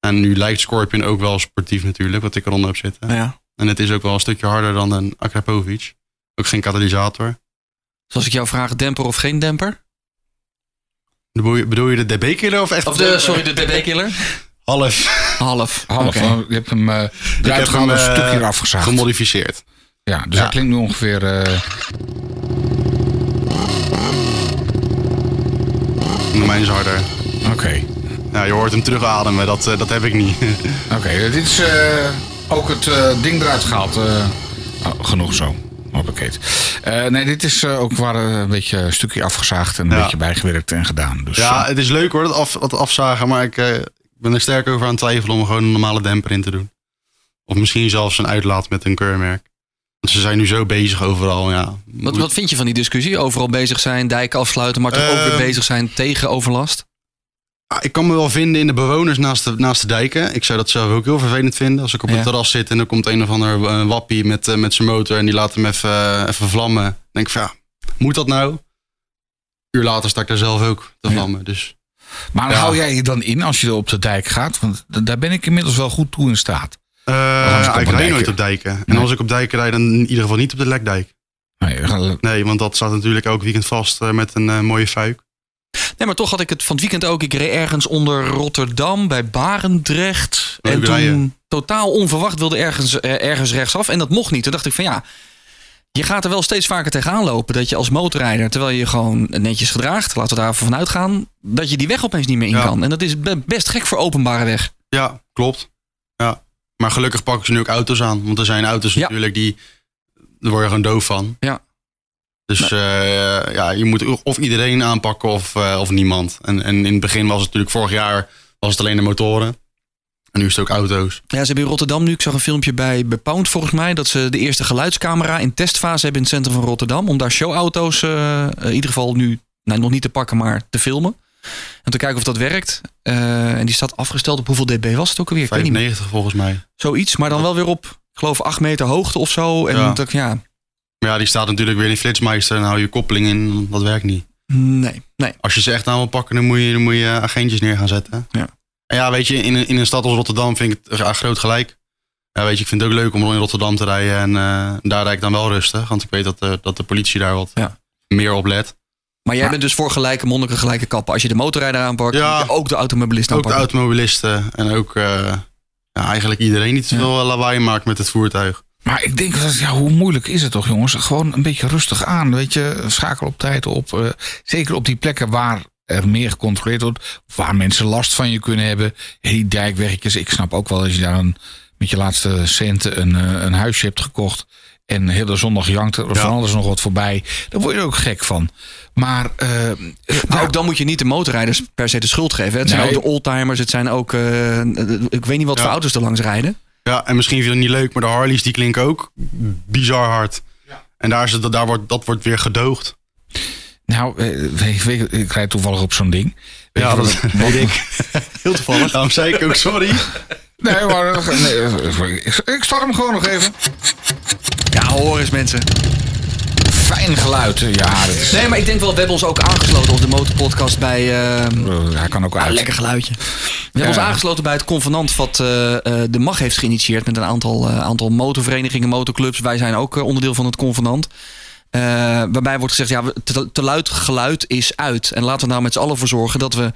[SPEAKER 4] En nu lijkt Scorpion ook wel sportief natuurlijk, wat ik eronder heb zitten.
[SPEAKER 3] Ja.
[SPEAKER 4] En het is ook wel een stukje harder dan een Akrapovic. Ook geen katalysator.
[SPEAKER 3] Zoals Dus ik jou vraag, demper of geen demper?
[SPEAKER 4] Bedoel je, bedoel je de DB-killer of echt?
[SPEAKER 3] Of de, sorry, de DB-killer?
[SPEAKER 4] Half
[SPEAKER 3] Half.
[SPEAKER 2] Half,
[SPEAKER 3] Oké.
[SPEAKER 2] oh, je hebt hem eh eruit
[SPEAKER 4] heb
[SPEAKER 2] gehaald
[SPEAKER 4] hem,
[SPEAKER 2] een
[SPEAKER 4] eh,
[SPEAKER 2] stukje eraf gezaagd.
[SPEAKER 4] gemodificeerd.
[SPEAKER 2] Ja, dus
[SPEAKER 4] Ja.
[SPEAKER 2] dat klinkt nu ongeveer... eh,
[SPEAKER 4] Noem mij eens harder.
[SPEAKER 2] Oké,
[SPEAKER 4] Ja, je hoort hem terugademen, dat, eh, dat heb ik niet.
[SPEAKER 2] oké. eh, dit is eh, ook het eh, ding eruit gehaald. eh. oh, genoeg zo. Hoppakee. Eh nee, dit is eh, ook waar eh, een beetje een stukje afgezaagd en een
[SPEAKER 4] Ja.
[SPEAKER 2] beetje bijgewerkt en gedaan. Dus,
[SPEAKER 4] ja,
[SPEAKER 2] eh,
[SPEAKER 4] het is leuk hoor, dat, af, dat afzagen. Maar ik eh, ben er sterk over aan het twijfelen om gewoon een normale demper in te doen. Of misschien zelfs een uitlaat met een keurmerk. Want ze zijn nu zo bezig overal, ja.
[SPEAKER 3] Wat, wat vind je van die discussie? Overal bezig zijn, dijken afsluiten, maar toch ook weer
[SPEAKER 4] Ehm.
[SPEAKER 3] bezig zijn tegen overlast?
[SPEAKER 4] Ah, Ik kan me wel vinden in de bewoners naast de, naast de dijken. Ik zou dat zelf ook heel vervelend vinden. Als ik op een
[SPEAKER 3] Ja.
[SPEAKER 4] terras zit en er komt een of ander eh, wappie met, eh, met zijn motor... en die laat hem even, eh, even vlammen. Dan denk ik van ja, moet dat nou? Een uur later sta ik daar zelf ook te
[SPEAKER 2] Ja.
[SPEAKER 4] vlammen. Dus
[SPEAKER 2] maar
[SPEAKER 4] ja.
[SPEAKER 2] hou jij je dan in als je op de dijk gaat? Want d- daar ben ik inmiddels wel goed toe in staat.
[SPEAKER 4] eh,
[SPEAKER 2] ik op
[SPEAKER 4] ik
[SPEAKER 2] een
[SPEAKER 4] rijd
[SPEAKER 2] dijkje.
[SPEAKER 4] nooit op dijken. En
[SPEAKER 2] Nee.
[SPEAKER 4] als ik op dijken rijd, dan in ieder geval niet op de lekdijk.
[SPEAKER 2] Nee, we gaan-
[SPEAKER 4] Nee, want dat staat natuurlijk elk weekend vast eh, met een eh, mooie fuik.
[SPEAKER 3] Nee, maar toch had ik het van het weekend ook. Ik reed ergens onder Rotterdam bij Barendrecht.
[SPEAKER 4] Leuk
[SPEAKER 3] en toen
[SPEAKER 4] rijden.
[SPEAKER 3] totaal onverwacht wilde ergens, eh, ergens rechtsaf. En dat mocht niet. Toen dacht ik van ja, je gaat er wel steeds vaker tegenaan lopen. Dat je als motorrijder, terwijl je gewoon netjes gedraagt. Laten we daar even vanuit gaan. Dat je die weg opeens niet meer in
[SPEAKER 4] Ja.
[SPEAKER 3] kan. En dat is be- best gek voor openbare weg.
[SPEAKER 4] Ja, klopt. Ja. Maar gelukkig pakken ze nu ook auto's aan. Want er zijn auto's
[SPEAKER 3] Ja.
[SPEAKER 4] natuurlijk die... Daar word je gewoon doof van.
[SPEAKER 3] Ja.
[SPEAKER 4] Dus eh, ja, je moet of iedereen aanpakken of, eh, of niemand. En, en in het begin was het natuurlijk vorig jaar was het alleen de motoren. En nu is het ook auto's.
[SPEAKER 3] Ja, ze hebben in Rotterdam nu, ik zag een filmpje bij Bepound volgens mij, dat ze de eerste geluidscamera in testfase hebben in het centrum van Rotterdam. Om daar showauto's eh, in ieder geval nu nou, nog niet te pakken, maar te filmen. En te kijken of dat werkt. Eh, en die staat afgesteld op hoeveel dB was het ook alweer? Ik weet niet meer.
[SPEAKER 4] 95 volgens mij.
[SPEAKER 3] Zoiets, maar dan wel weer op, ik geloof, 8 meter hoogte of zo. En
[SPEAKER 4] Ja.
[SPEAKER 3] dat, ja,
[SPEAKER 4] Maar ja, die staat natuurlijk weer in Flitsmeister. En hou je koppeling in, want dat werkt niet.
[SPEAKER 3] nee, nee.
[SPEAKER 4] Als je ze echt aan wil pakken, dan moet je, dan moet je agentjes neer gaan zetten.
[SPEAKER 3] Ja.
[SPEAKER 4] En ja, weet je, in, een- in een stad als Rotterdam vind ik het ja, groot gelijk. Ja, weet je, ik vind het ook leuk om in Rotterdam te rijden. En eh, daar rijd ik dan wel rustig. Want ik weet dat de, dat de politie daar wat
[SPEAKER 3] Ja.
[SPEAKER 4] meer op let.
[SPEAKER 3] Maar jij
[SPEAKER 2] Maar-
[SPEAKER 3] bent dus voor gelijke monniken, gelijke kappen. Als je de motorrijder aanpakt,
[SPEAKER 4] Ja.
[SPEAKER 3] moet je ook de automobilist
[SPEAKER 4] ook de
[SPEAKER 3] aanpakken.
[SPEAKER 4] automobilisten en ook eh, ja, eigenlijk iedereen die te
[SPEAKER 3] Ja.
[SPEAKER 4] veel eh, lawaai maakt met het voertuig.
[SPEAKER 2] Maar ik denk, dat, ja, hoe moeilijk is het toch, jongens? Gewoon een beetje rustig aan, weet je. Schakel op tijd op. eh, zeker op die plekken waar er meer gecontroleerd wordt. Waar mensen last van je kunnen hebben. Hey, dijkweggetjes. Ik snap ook wel als je daar een, met je laatste centen een, eh, een huisje hebt gekocht. En heel de zondag jankt er van alles nog wat voorbij. Daar word je er ook gek van. Maar eh,
[SPEAKER 3] Maar ook dan moet je niet de motorrijders per se de schuld geven. Het zijn
[SPEAKER 2] Nee.
[SPEAKER 3] ook de oldtimers, het zijn ook... eh, ik weet niet wat
[SPEAKER 4] Ja.
[SPEAKER 3] voor auto's er langs rijden.
[SPEAKER 4] Ja, en misschien vind je het niet leuk, maar de Harleys die klinken ook bizar hard. En daar, is het, daar wordt, dat wordt weer gedoogd.
[SPEAKER 2] nou, eh, ik, weet- ik rijd toevallig op zo'n ding. Weet
[SPEAKER 4] Ja,
[SPEAKER 2] je wat
[SPEAKER 4] dat
[SPEAKER 2] ik-
[SPEAKER 4] weet ik. Heel toevallig. Daarom zei ik ook sorry.
[SPEAKER 2] Nee, maar eh, nee, eh, ik start hem gewoon nog even.
[SPEAKER 3] Ja, hoor eens mensen.
[SPEAKER 2] Fijn geluid. eh, Ja, dat is,
[SPEAKER 3] Nee, maar ik denk wel, we hebben ons ook aangesloten op de motorpodcast bij... eh,
[SPEAKER 2] eh, hij kan ook
[SPEAKER 3] Ah,
[SPEAKER 2] uit.
[SPEAKER 3] lekker geluidje. We hebben
[SPEAKER 2] Ja.
[SPEAKER 3] ons aangesloten bij het convenant wat eh, eh, de MAG heeft geïnitieerd met een aantal, eh, aantal motorverenigingen, motorclubs. Wij zijn ook eh, onderdeel van het convenant. Eh, waarbij wordt gezegd, ja, we- te, te luid geluid is uit. En laten we nou met z'n allen voor zorgen dat we in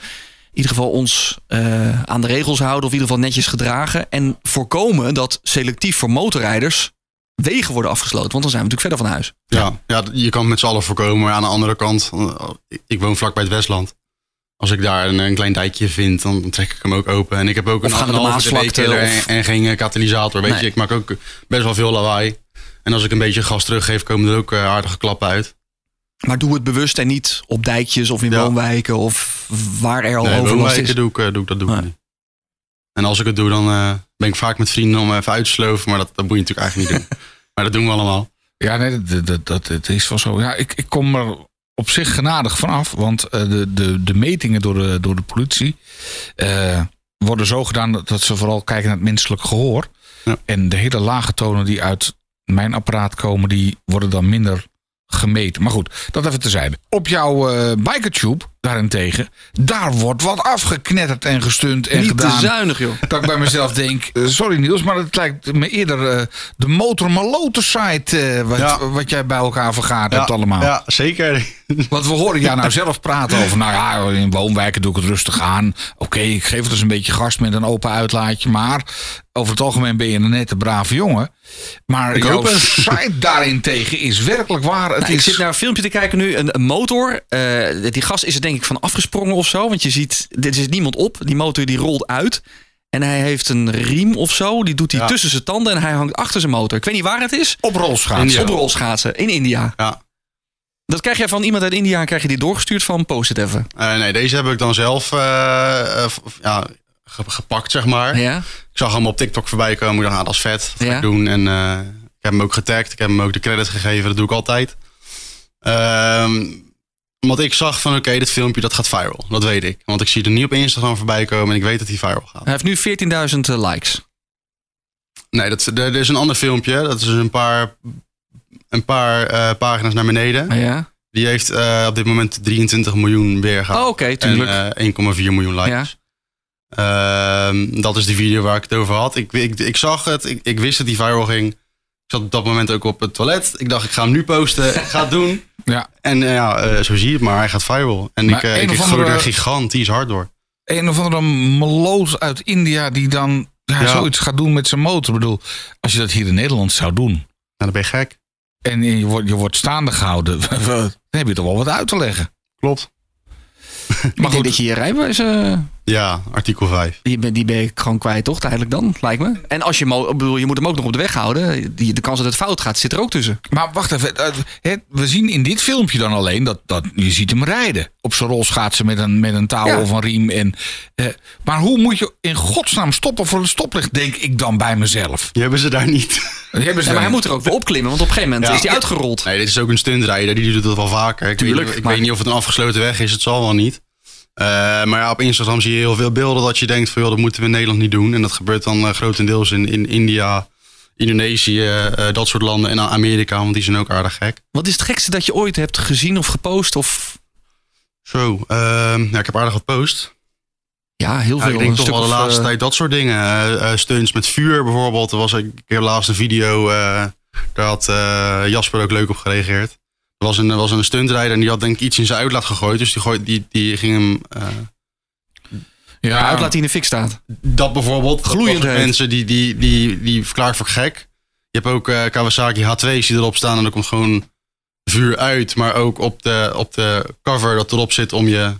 [SPEAKER 3] ieder geval ons eh, aan de regels houden. Of in ieder geval netjes gedragen. En voorkomen dat selectief voor motorrijders wegen worden afgesloten. Want dan zijn we natuurlijk verder van huis.
[SPEAKER 4] Ja, ja, je kan het met z'n allen voorkomen. Maar aan de andere kant, eh, ik- ik woon vlak bij het Westland. Als ik daar een, een klein dijkje vind, dan trek ik hem ook open. En ik heb ook een,
[SPEAKER 3] gaan we
[SPEAKER 4] een
[SPEAKER 3] de
[SPEAKER 4] halve
[SPEAKER 3] Maasvlakte
[SPEAKER 4] CD-teller en,
[SPEAKER 3] of-
[SPEAKER 4] en geen eh, katalysator. Weet
[SPEAKER 3] Nee.
[SPEAKER 4] je, ik maak ook best wel veel lawaai. En als ik een beetje gas teruggeef, komen er ook eh, aardige klappen uit.
[SPEAKER 3] Oh, Maar doe het bewust en niet op dijkjes of in
[SPEAKER 4] Ja.
[SPEAKER 3] woonwijken of waar er al
[SPEAKER 4] Nee,
[SPEAKER 3] overlast is.
[SPEAKER 4] woonwijken doe ik, eh, doe ik dat doe ik
[SPEAKER 3] Nee.
[SPEAKER 4] niet. En als ik het doe, dan eh, ben ik vaak met vrienden om even uit te sloven. Maar dat, dat moet je natuurlijk eigenlijk niet doen. Maar dat doen we allemaal.
[SPEAKER 2] Ja, nee, dat, dat, dat, het is wel zo. Ja, ik, ik kom er op zich genadig vanaf, want eh, de, de, de metingen door de, door de politie eh, worden zo gedaan dat, dat ze vooral kijken naar het menselijk gehoor.
[SPEAKER 4] Ja.
[SPEAKER 2] En de hele lage tonen die uit mijn apparaat komen, die worden dan minder gemeten. Maar goed, dat even terzijde. Op jouw eh bikertube daarentegen, daar wordt wat afgeknetterd en gestunt en
[SPEAKER 3] Niet
[SPEAKER 2] gedaan
[SPEAKER 3] te zuinig, joh.
[SPEAKER 2] dat ik bij mezelf denk, eh, sorry Niels, maar het lijkt me eerder eh, de motor maloten site eh, wat,
[SPEAKER 4] Ja.
[SPEAKER 2] wat jij bij elkaar vergaard hebt allemaal.
[SPEAKER 4] Ja, zeker.
[SPEAKER 2] Want we horen jou nou zelf praten over, nou ja, in woonwijken doe ik het rustig aan. Oké, ik geef het eens een beetje gas met een open uitlaatje, maar over het algemeen ben je een nette brave jongen. Maar
[SPEAKER 4] Ik
[SPEAKER 2] jouw
[SPEAKER 4] hoop het.
[SPEAKER 2] site daarentegen is werkelijk waar. Het
[SPEAKER 3] Nou, ik
[SPEAKER 2] is,
[SPEAKER 3] zit naar een filmpje te kijken nu. Een, een motor. eh, die gas is er denk ik van afgesprongen of zo. Want je ziet, er zit niemand op. Die motor die rolt uit. En hij heeft een riem of zo. Die doet hij
[SPEAKER 4] Ja.
[SPEAKER 3] tussen zijn tanden en hij hangt achter zijn motor. Ik weet niet waar het is.
[SPEAKER 2] op rolschaats.
[SPEAKER 4] India.
[SPEAKER 3] Op rolschaatsen in India.
[SPEAKER 4] Ja.
[SPEAKER 3] Dat krijg jij van iemand uit India. Krijg je die doorgestuurd van post het even.
[SPEAKER 4] Eh, nee, deze heb ik dan zelf eh, eh, v- ja, ge- gepakt, zeg maar.
[SPEAKER 3] Ja?
[SPEAKER 4] Ik zag hem op TikTok voorbij komen. Ik dacht, ah, dat is vet. Dat ga
[SPEAKER 3] Ja.
[SPEAKER 4] ik doen. En eh, ik heb hem ook getagd. Ik heb hem ook de credit gegeven. Dat doe ik altijd. Ehm, omdat ik zag van, oké, dit filmpje dat gaat viral. Dat weet ik. Want ik zie er niet op Instagram voorbij komen. En ik weet dat hij viral gaat.
[SPEAKER 3] Hij heeft nu 14.000 likes.
[SPEAKER 4] Nee, dat, er, er is een ander filmpje. Dat is een paar, een paar eh, pagina's naar beneden.
[SPEAKER 3] Ja?
[SPEAKER 4] Die heeft eh, op dit moment 23 miljoen weergaan.
[SPEAKER 3] Oh, Oké,
[SPEAKER 4] en
[SPEAKER 3] tuurlijk.
[SPEAKER 4] eh, 1,4 miljoen likes.
[SPEAKER 3] ja.
[SPEAKER 4] Ehm, dat is de video waar ik het over had. Ik, ik, ik zag het, ik, ik wist dat die viral ging. Ik zat op dat moment ook op het toilet. Ik dacht, ik ga hem nu posten. ik ga het doen.
[SPEAKER 2] Ja.
[SPEAKER 4] En eh, ja, eh, zo zie je het maar. Hij gaat viral. En
[SPEAKER 2] Maar
[SPEAKER 4] ik, eh,
[SPEAKER 2] een
[SPEAKER 4] ik
[SPEAKER 2] of
[SPEAKER 4] groei
[SPEAKER 2] andere-
[SPEAKER 4] er gigantisch hard door.
[SPEAKER 2] een of andere meloos uit India die dan ja,
[SPEAKER 4] Ja.
[SPEAKER 2] zoiets gaat doen met zijn motor. Ik bedoel, als je dat hier in Nederland zou doen.
[SPEAKER 4] Nou, dan ben je gek.
[SPEAKER 2] En je wordt, je wordt staande gehouden. Dan heb je toch wel wat uit te leggen.
[SPEAKER 4] Klopt.
[SPEAKER 3] Maar
[SPEAKER 2] Maar
[SPEAKER 3] goed.
[SPEAKER 2] goed,
[SPEAKER 3] dat je je rijbewijs... eh,
[SPEAKER 4] Ja, artikel 5.
[SPEAKER 3] Die ben, die ben ik gewoon kwijt, toch? Tijdelijk dan, lijkt me. En als je, hem ook- ik bedoel, je moet hem ook nog op de weg houden. Die, de kans dat het fout gaat, zit er ook tussen.
[SPEAKER 2] maar wacht even. eh, het- We zien in dit filmpje dan alleen dat, dat je ziet hem rijden. Op zijn rolschaatsen met een, met een touw
[SPEAKER 3] Ja.
[SPEAKER 2] of een riem. En, eh, maar hoe moet je in godsnaam stoppen voor een stoplicht, denk ik dan bij mezelf. Eh,
[SPEAKER 4] Die hebben ze daar niet.
[SPEAKER 2] Die hebben ze
[SPEAKER 3] Ja, maar hij
[SPEAKER 2] dan-
[SPEAKER 3] moet er ook weer opklimmen, want op een gegeven moment
[SPEAKER 4] Ja.
[SPEAKER 3] is hij uitgerold.
[SPEAKER 4] Nee, dit is ook een stuntrijder. Die doet dat wel vaker. Ik,
[SPEAKER 3] Tuurlijk,
[SPEAKER 4] weet, ik
[SPEAKER 3] maar-
[SPEAKER 4] weet niet of het een afgesloten weg is. Het zal wel niet. Eh, maar ja, op Instagram zie je heel veel beelden dat je denkt van... Joh, dat moeten we in Nederland niet doen. En dat gebeurt dan eh, grotendeels in, in India, Indonesië, eh, dat soort landen. En Amerika, want die zijn ook aardig gek.
[SPEAKER 3] Wat is het gekste dat je ooit hebt gezien of gepost? Of
[SPEAKER 4] Zo, ehm, ja, ik heb aardig wat post.
[SPEAKER 3] ja, heel
[SPEAKER 4] Ja,
[SPEAKER 3] veel.
[SPEAKER 4] ik denk
[SPEAKER 3] een
[SPEAKER 4] toch
[SPEAKER 3] stuk
[SPEAKER 4] wel de
[SPEAKER 3] of,
[SPEAKER 4] laatste
[SPEAKER 3] eh,
[SPEAKER 4] tijd dat soort dingen. Eh, eh, stunts met vuur bijvoorbeeld. Er was een keer laatst een video, eh, daar had eh, Jasper ook leuk op gereageerd. Er was een, er was een stuntrijder en die had denk ik iets in zijn uitlaat gegooid. Dus die, gooi, die, die ging hem... eh,
[SPEAKER 3] de
[SPEAKER 2] ja,
[SPEAKER 3] uitlaat die in de fik staat.
[SPEAKER 4] dat bijvoorbeeld.
[SPEAKER 3] Gloeiend
[SPEAKER 4] dat soort
[SPEAKER 3] heet.
[SPEAKER 4] mensen die, die, die, die verklaart voor gek. Je hebt ook eh, Kawasaki H2's die erop staan en er komt gewoon vuur uit. Maar ook op de, op de cover dat erop zit om je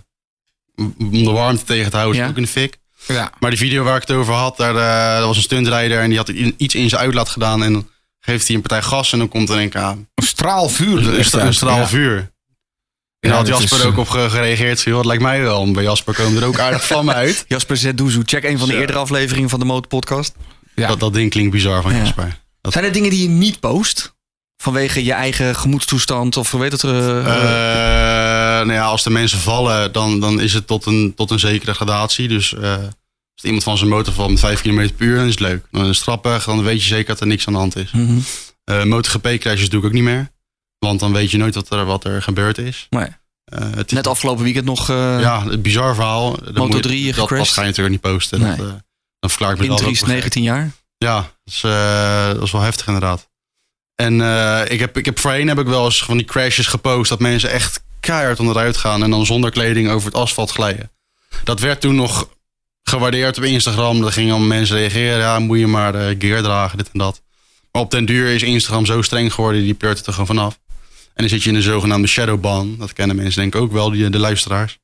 [SPEAKER 4] om de warmte tegen te houden.
[SPEAKER 3] Ja.
[SPEAKER 4] Is ook in de fik.
[SPEAKER 2] ja.
[SPEAKER 4] Maar die video waar ik het over had, daar, eh, er was een stuntrider en die had i- iets in zijn uitlaat gedaan. En geeft hij een partij gas en dan komt er een aan.
[SPEAKER 2] Een straalvuur. er
[SPEAKER 4] Een,
[SPEAKER 2] echt
[SPEAKER 4] stra- een
[SPEAKER 2] uit.
[SPEAKER 4] straal
[SPEAKER 2] Ja.
[SPEAKER 4] vuur. En
[SPEAKER 2] Ja,
[SPEAKER 4] daar had
[SPEAKER 2] dat
[SPEAKER 3] eh,
[SPEAKER 4] Jasper
[SPEAKER 2] is, eh,
[SPEAKER 4] ook op ge- gereageerd. Van, joh, het lijkt mij wel. En bij Jasper komen er ook aardig vlammen uit.
[SPEAKER 3] Jasper Zetdoezoe, check een van de
[SPEAKER 4] Zo.
[SPEAKER 3] eerdere afleveringen van de Motorpodcast.
[SPEAKER 2] Ja.
[SPEAKER 4] Dat, dat ding klinkt bizar van
[SPEAKER 3] Ja.
[SPEAKER 4] Jasper. Dat-
[SPEAKER 3] Zijn er dingen die je niet post? Vanwege je eigen gemoedstoestand of weet het... eh,
[SPEAKER 4] Eh, nou ja, als de mensen vallen, dan, dan is het tot een, tot een zekere gradatie. Dus eh, als iemand van zijn motor valt met 5 km per uur, dan is het leuk. Dan is het grappig, dan weet je zeker dat er niks aan de hand is.
[SPEAKER 3] mhm.
[SPEAKER 4] Eh MotoGP-crashes doe ik ook niet meer. Want dan weet je nooit wat er, wat er gebeurd is.
[SPEAKER 3] Nee.
[SPEAKER 4] Eh, het is
[SPEAKER 3] Net afgelopen weekend nog eh
[SPEAKER 4] Ja, het bizar verhaal. Dan
[SPEAKER 3] Moto
[SPEAKER 4] moet je-
[SPEAKER 3] 3
[SPEAKER 4] Dat,
[SPEAKER 3] gecrashed.
[SPEAKER 4] dat ga je natuurlijk niet posten.
[SPEAKER 3] Nee.
[SPEAKER 4] Dat, eh, dan verklaar ik me
[SPEAKER 3] in
[SPEAKER 4] dat ook
[SPEAKER 3] Dries,
[SPEAKER 4] begrijp.
[SPEAKER 3] 19 jaar.
[SPEAKER 4] Ja, dat is, eh, dat is wel heftig inderdaad. En eh, ik heb, ik heb voorheen heb ik wel eens van die crashes gepost dat mensen echt keihard onderuit gaan en dan zonder kleding over het asfalt glijden. Dat werd toen nog gewaardeerd op Instagram. Daar gingen allemaal mensen reageren. Ja, moet je maar eh, gear dragen, dit en dat. Maar op den duur is Instagram zo streng geworden, die pleurt het er gewoon vanaf. En dan zit je in de zogenaamde shadowban. Dat kennen mensen denk ik ook wel, die, de luisteraars.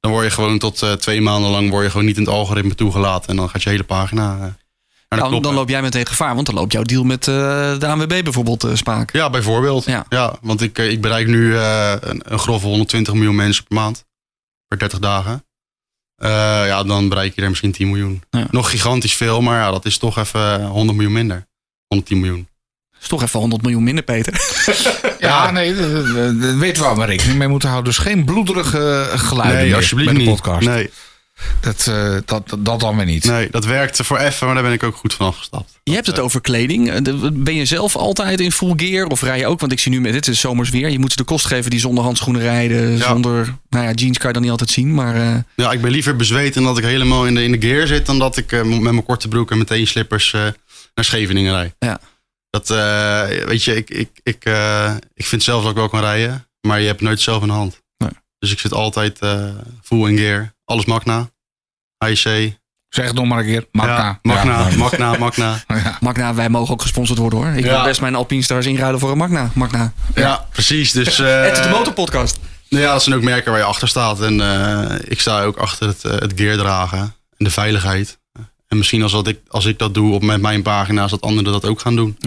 [SPEAKER 4] Dan word je gewoon tot eh, twee maanden lang word je gewoon niet in het algoritme toegelaten. En dan gaat je hele pagina eh, naar de
[SPEAKER 3] Nou,
[SPEAKER 4] knoppen.
[SPEAKER 3] dan loop jij meteen gevaar, want dan loopt jouw deal met eh, de ANWB bijvoorbeeld eh, spaak.
[SPEAKER 4] Ja, bijvoorbeeld.
[SPEAKER 3] Ja.
[SPEAKER 4] Ja. want ik, eh, ik bereik nu eh, een, een grove 120 miljoen mensen per maand. Per 30 dagen. Eh, ja, dan bereik je er misschien 10 miljoen.
[SPEAKER 3] Ja.
[SPEAKER 4] Nog gigantisch veel, maar ja, dat is toch even 100 miljoen minder. 110 miljoen.
[SPEAKER 3] is toch even 100 miljoen minder, Peter.
[SPEAKER 2] Ja, nee, dat, dat- dat- dat weten we waar we rekening mee moeten houden. Dus geen bloederige eh, geluiden meer bij de podcast.
[SPEAKER 4] Nee,
[SPEAKER 2] Dat, eh, dat, dat dan weer niet.
[SPEAKER 4] nee, dat werkte voor even, maar daar ben ik ook goed van afgestapt.
[SPEAKER 3] Je hebt het over kleding. Eh, de- Ben je zelf altijd in full gear of rij je ook? Want ik zie nu, met dit is zomers weer. Je moet ze de kost geven die zonder handschoenen rijden.
[SPEAKER 4] Ja.
[SPEAKER 3] Zonder, nou ja, jeans kan je dan niet altijd zien. Maar eh,
[SPEAKER 4] Ja, ik ben liever bezweet en dat ik helemaal in de, in de gear zit... dan dat ik eh, met mijn korte broek en meteen slippers eh, naar Scheveningen rijd.
[SPEAKER 3] Ja.
[SPEAKER 4] Dat, eh, weet je, ik, ik, ik, eh, ik vind zelf dat ik wel kan rijden, maar je hebt nooit zelf in de hand.
[SPEAKER 3] Nee.
[SPEAKER 4] Dus ik zit altijd eh, full in gear. Alles Magna, AIC.
[SPEAKER 2] Zeg het nog maar een keer.
[SPEAKER 4] Ja,
[SPEAKER 2] Magna.
[SPEAKER 4] Magna,
[SPEAKER 2] Ja,
[SPEAKER 4] Magna, Magna.
[SPEAKER 2] ja.
[SPEAKER 3] Magna, wij mogen ook gesponsord worden hoor. Ik
[SPEAKER 4] Ja.
[SPEAKER 3] wil best mijn Alpine Stars inruilen voor een Magna. Magna.
[SPEAKER 4] Ja, precies. Dus,
[SPEAKER 3] Het
[SPEAKER 4] eh,
[SPEAKER 3] is de Motorpodcast.
[SPEAKER 4] Nou ja, dat zijn ook merken waar je achter staat. En eh, ik sta ook achter het, eh, het gear dragen en de veiligheid. En misschien als, dat ik, als ik dat doe op met mijn pagina's, dat anderen dat ook gaan doen.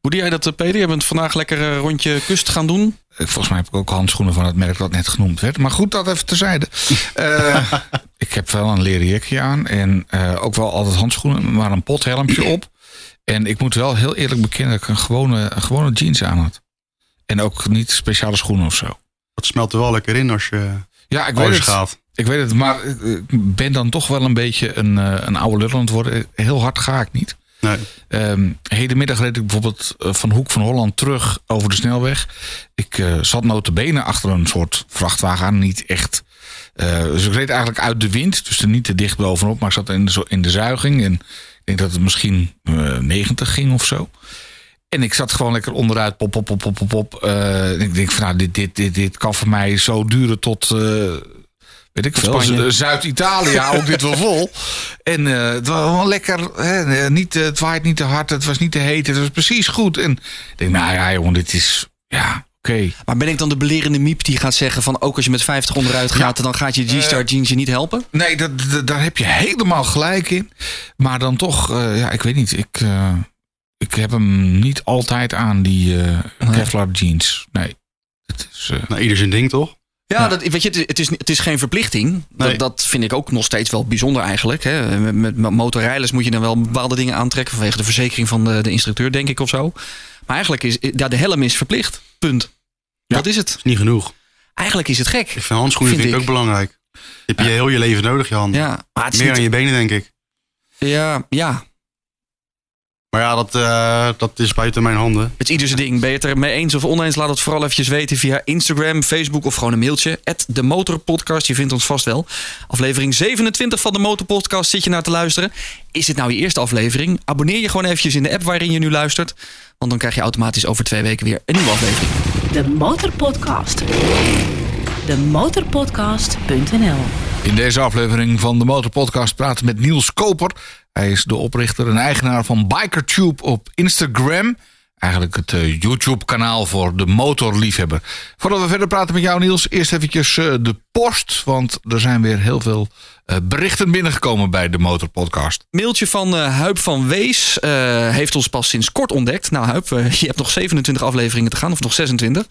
[SPEAKER 3] Hoe doe jij dat, eh, Peter? Je bent vandaag lekker een rondje kust gaan doen.
[SPEAKER 2] Eh, Volgens mij heb ik ook handschoenen van het merk dat net genoemd werd. Maar goed, dat even terzijde. Eh, ik heb wel een leren jekje aan. En eh, ook wel altijd handschoenen, maar een pothelmpje op. En ik moet wel heel eerlijk bekennen dat ik een gewone, een gewone jeans aan had. En ook niet speciale schoenen of zo.
[SPEAKER 4] Dat smelt er wel lekker in als je
[SPEAKER 2] Ja, ik weet
[SPEAKER 4] alles
[SPEAKER 2] het.
[SPEAKER 4] gaat.
[SPEAKER 2] Ik weet het, maar ik ben dan toch wel een beetje een, eh, een oude lul aan het worden. Heel hard ga ik niet.
[SPEAKER 4] Nee.
[SPEAKER 2] Ehm hedenmiddag reed ik bijvoorbeeld eh, van Hoek van Holland terug over de snelweg. Ik eh zat notabene achter een soort vrachtwagen aan, niet echt. eh, dus ik reed eigenlijk uit de wind, dus er niet te dicht bovenop. Maar ik zat in de, zo- in de zuiging en ik denk dat het misschien eh, 90 ging of zo. En ik zat gewoon lekker onderuit, pop, pop, pop, pop, pop, pop. Eh, en ik denk van nou, dit, dit, dit, dit kan voor mij zo duren tot... eh, Weet ik veel,
[SPEAKER 3] Spanje.
[SPEAKER 2] Zu- Zuid-Italië hou ik dit wel vol. En eh, het was wel lekker. Hè, eh, niet, eh, het waait niet te hard, het was niet te heet. Het was precies goed. En ik denk, nou ja, jongen, dit is. Ja, oké.
[SPEAKER 3] Maar ben ik dan de belerende miep die gaat zeggen van... ook als je met 50 onderuit gaat, dan gaat je G-Star
[SPEAKER 4] Eh.
[SPEAKER 3] jeans je niet helpen?
[SPEAKER 2] Nee, dat, dat- daar heb je helemaal gelijk in. Maar dan toch, eh, ja, ik weet niet. Ik, eh, ik heb hem niet altijd aan, die eh, Kevlar jeans. Nee. Het is, eh,
[SPEAKER 4] Nou, ieder zijn ding toch?
[SPEAKER 3] Ja, dat, weet je, het is- het is, het is geen verplichting.
[SPEAKER 4] Nee.
[SPEAKER 3] Dat, dat vind ik ook nog steeds wel bijzonder eigenlijk. Hè. Met, met motorrijders moet je dan wel bepaalde dingen aantrekken... vanwege de verzekering van de, de instructeur, denk ik, of zo. Maar eigenlijk is ja, de helm is verplicht. Punt. Dat is het.
[SPEAKER 4] Is niet genoeg.
[SPEAKER 3] Eigenlijk is het gek.
[SPEAKER 4] Ik vind handschoenen
[SPEAKER 3] Vind
[SPEAKER 4] vind ik
[SPEAKER 3] ik.
[SPEAKER 4] ook belangrijk. Die heb je heel je leven nodig, je handen.
[SPEAKER 3] Ja, maar het is
[SPEAKER 4] Meer
[SPEAKER 3] niet-
[SPEAKER 4] aan je benen, denk ik.
[SPEAKER 3] ja, ja,
[SPEAKER 4] Maar ja, dat, eh, dat is buiten mijn handen.
[SPEAKER 3] Het is ieder zijn ding. Ben je het er mee eens of oneens? Laat het vooral eventjes weten via Instagram, Facebook of gewoon een mailtje. de Motorpodcast. Je vindt ons vast wel. Aflevering 27 van de Motorpodcast zit je naar te luisteren. Is dit nou je eerste aflevering? Abonneer je gewoon eventjes in de app waarin je nu luistert. Want dan krijg je automatisch over twee weken weer een nieuwe aflevering.
[SPEAKER 1] De Motorpodcast. De Motorpodcast.nl
[SPEAKER 2] In deze aflevering van de Motorpodcast praten we met Niels Koper. Hij is de oprichter en eigenaar van BikerTube op Instagram. Eigenlijk het eh, YouTube-kanaal voor de motorliefhebber. Voordat we verder praten met jou, Niels, eerst eventjes eh, de post. Want er zijn weer heel veel eh, berichten binnengekomen bij de Motorpodcast.
[SPEAKER 3] Mailtje van eh, Huip van Wees eh, heeft ons pas sinds kort ontdekt. Nou Huip, eh, je hebt nog 27 afleveringen te gaan, of nog 26.